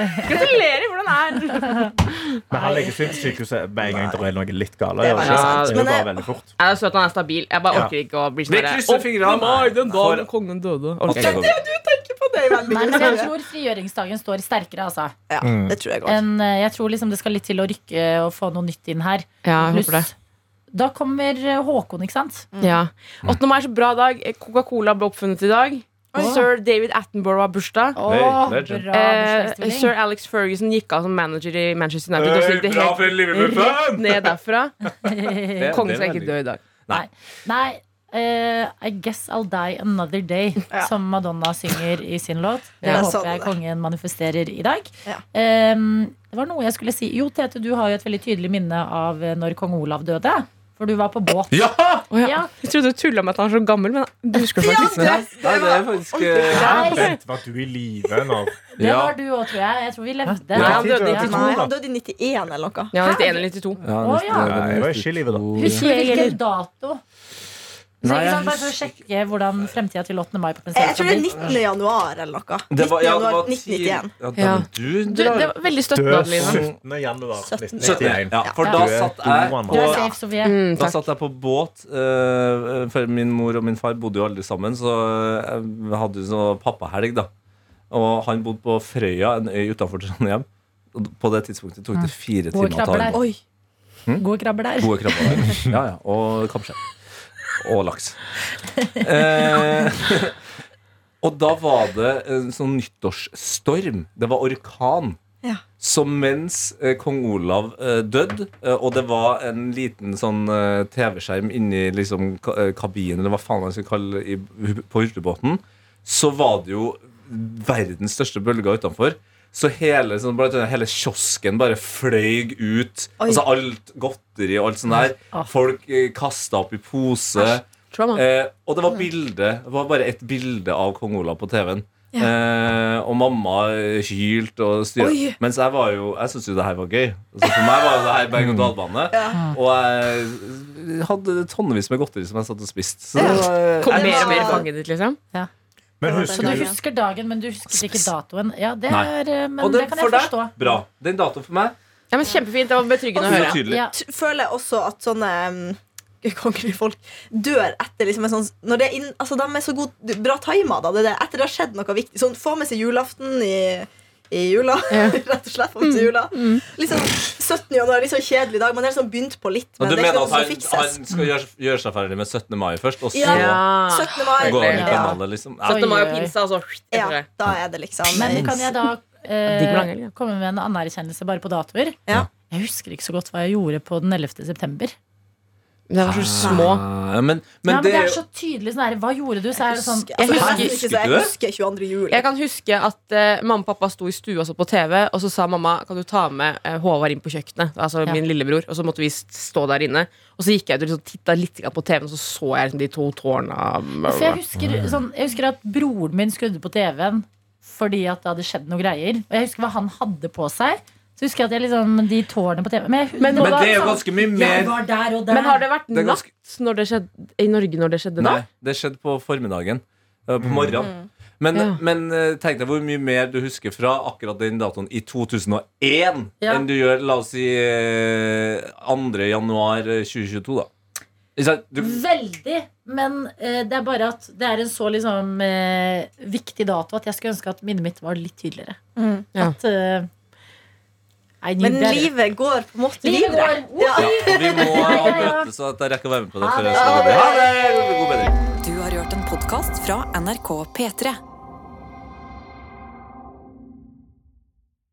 E: Gratulerer! Hvordan [laughs] er
G: Men han legges inn på sykehuset med en gang det er noe litt gale.
F: Det er
G: gjør det
F: veldig
G: ikke?
E: sant.
G: Det er jo
F: Men
G: bare
F: jeg-
G: veldig fort.
E: Jeg er søt at han er stabil. Jeg bare
G: Ja.
E: orker ikke å bli sånn
C: Vi
E: der-
C: krysser fingrene.
E: Å, Nei, den dagen
C: For-
E: kongen døde. Orker jeg ikke.
C: Nei,
F: Det er veldig
B: Nei, men jeg
F: gøy.
B: tror frigjøringsdagen står sterkere, altså.
F: Ja, det tror jeg godt.
B: enn, eh, jeg tror liksom det skal litt til å rykke og få noe nytt inn her.
E: Ja, jeg håper det.
B: da kommer eh, Håkon, ikke sant?
F: Mm.
E: Ja. 8. mai er så bra dag. Coca-Cola ble oppfunnet i dag. Sir David Attenborough har bursdag.
B: Åh, bra
C: legend.
E: Eh,
B: bursdagsstilling.
E: Sir Alex Ferguson gikk av som manager i Manchester United. Og så gikk det
D: Bra for
E: helt
D: en Liverpool-fan!
E: ned derfra.
C: det er
E: Kongen skal
C: veldig-
E: ikke dø i dag.
B: Nei, eh, I guess I'll die another day,
F: [laughs] Ja.
B: som Madonna synger i sin
F: [laughs]
B: låt. Det
F: Ja, jeg
B: håper
F: savner
B: jeg
F: det.
B: kongen manifesterer i dag.
F: Ja.
B: Ehm, det var noe jeg skulle si. Jo, Tete, du har jo et veldig tydelig minne av eh, når kong Olav døde. For du var på båt.
E: Å, ja.
B: Ja.
E: Jeg trodde du tulla med at han er så gammel, men du husker det faktisk.
C: Nei, nei, det er faktisk eh,
B: Nei,
G: Vent, var du i live når
B: det
C: Ja.
B: var du òg, tror jeg. Jeg tror vi levde.
E: Nei, han døde i
F: Nei,
E: 92.
F: han døde i 91 eller noe.
E: Ja, 91 eller 92.
C: ja,
B: Å, ja.
G: Nei, jeg var ikke i livet da.
B: Husker du hvilken dato? Så,
C: Nei,
B: ikke
C: jeg
B: sant, bare for å sjekke hvordan fremtida til 8. mai
F: Jeg, jeg
B: potensielt
F: tror det er
E: sånn
F: 19. januar eller noe. 19.
C: Det var, ja, det
F: januar
C: var
F: 1991.
C: ti- Ja,
E: Ja.
C: men du
E: Du, det
C: drar
E: var veldig støttende,
G: Død
E: Adeline.
G: 17. januar
C: 17.
G: 1991.
C: Ja, for
G: Du
C: da
G: er
C: satt
G: god,
C: jeg
G: mann.
B: Du er
C: på
B: safe, Sofie.
E: Mm,
C: Da
E: takk.
C: satt jeg på båt, eh, for min mor og min far bodde jo aldri sammen, så jeg hadde jo sånn pappahelg, da. Og han bodde på Frøya, en øy utenfor Trondheim. Og på det tidspunktet tok det fire
B: Gode
C: timer å ta
B: krabber
C: en
B: der.
F: Oi.
B: Gode krabber der.
C: Gode krabber der. Ja, ja. Og kappskjell. Og laks. Eh, [laughs] og da var det en sånn nyttårsstorm. Det var orkan.
F: Ja.
C: Så mens eh, kong Olav eh, døde, eh, og det var en liten sånn eh, TV-skjerm inni liksom, ka eh, kabinen, eller hva faen man skal kalle det, i, på hurtigbåten, så var det jo verdens største bølger utenfor. Så hele, sånn, blant annet hele kiosken bare fløy ut.
F: Oi.
C: Altså alt godteri og alt sånt der.
B: Åh.
C: Folk eh, kasta opp i pose.
E: Trauma.
C: Eh, og det var bilde Det var bare et bilde av kong Olav på TV-en. Eh, og mamma eh, hylte og
F: Oi.
C: styra. Mens jeg var jo Jeg syntes jo det her var gøy. Altså, for meg var jo det her berg-og-dal-bane. Og jeg hadde tonnevis med godteri som jeg satt og spiste. Så det var, eh,
E: Kom mer og
F: var-
E: mer i fanget ditt, liksom.
G: Men
B: Så
G: husker
B: du
G: du
B: husker dagen, men du husker ikke datoen. Ja, det
C: Nei.
B: er, eh, men
C: og
B: det
C: den
B: kan
C: for
B: jeg
C: deg,
B: forstå.
C: bra. Den datoen for meg,
E: Ja, men Kjempefint. Det var betryggende å høre.
C: utydelig.
B: Ja.
F: t- føler jeg også at sånne mm, kongelige folk dør etter liksom en sånn når det er inn, altså De er så god, bra tima da, det er det, etter det har skjedd noe viktig. Sånn, få med seg julaften i, i jula. [laughs] rett og slett. Få med seg jula. Liksom 17. januar, litt sånn kjedelig dag. Man har liksom begynt på litt.
C: Og
F: Men
C: du
F: det er
C: mener at
F: ikke noe som
C: han,
F: fikses.
C: han skal gjøre, gjøre seg ferdig med 17. mai først, og så
F: Ja.
E: Ja.
F: 17. mai.
C: går han i
E: Ja.
C: kanalet, liksom? Nei,
B: Så-
E: Det var jo pinse, altså.
F: Ja,
E: etter det.
F: da er det liksom
B: Men kan jeg da
E: Digg med
B: eh,
E: langhelg, ja.
B: komme med en anerkjennelse bare på datoer?
F: Ja.
B: Jeg husker ikke så godt hva jeg gjorde på den 11. september.
E: Det var så små.
C: eh, Men, men
B: ja, men det er så
C: jo-
B: tydelig sånn her, Hva gjorde du? Så er det sånn
F: jeg husker, altså,
E: husker-
F: jeg husker, ikke, så jeg husker 22. juli.
E: Jeg kan huske at eh, mamma og pappa sto i stua og så på TV, og så sa mamma kan du ta med eh, Håvard inn på kjøkkenet. Altså
B: Ja.
E: min lillebror Og så måtte vi s- stå der inne. Og så gikk jeg ut og liksom, titta litt grann på TV-en, og så så jeg liksom, de to tårna.
B: For jeg husker, sånn, jeg husker at broren min skrudde på TV-en fordi at det hadde skjedd noen greier. Og jeg husker hva han hadde på seg. Så husker jeg at jeg liksom, de tårene på TV Men, jeg,
E: Men-
B: nå
E: men
B: var
C: Men det er jo
B: sånn,
C: ganske mye
B: Jeg
C: mer
B: var der og der.
E: Men har det vært
C: Det er ganske-
E: natt når det skjedde, i Norge når det skjedde
C: Nei,
E: da?
C: det skjedde på formiddagen. eh, På morgenen. Men,
E: Ja.
C: men eh, tenk deg hvor mye mer du husker fra akkurat den datoen i 2001
B: Ja.
C: enn du gjør, la oss si, eh, 2. januar eh, 2022, da. Ikke sant? Du,
B: Mm. Veldig. Men eh, det er bare at det er en så liksom, eh, viktig dato at jeg skulle ønske at minnet mitt var litt tydeligere.
F: Mm.
E: Ja.
B: At eh, I need
F: Men
B: better.
F: livet går på en måte
B: Livet
F: videre.
B: går.
F: Ja.
C: ja, og vi må
B: Ja, ja, ja.
C: avbøte så at jeg rekker å være med på det.
B: Ha
C: før
B: det.
C: jeg skal gå. Ha det! God bedring.
A: Du har hørt en podkast fra NRK P3.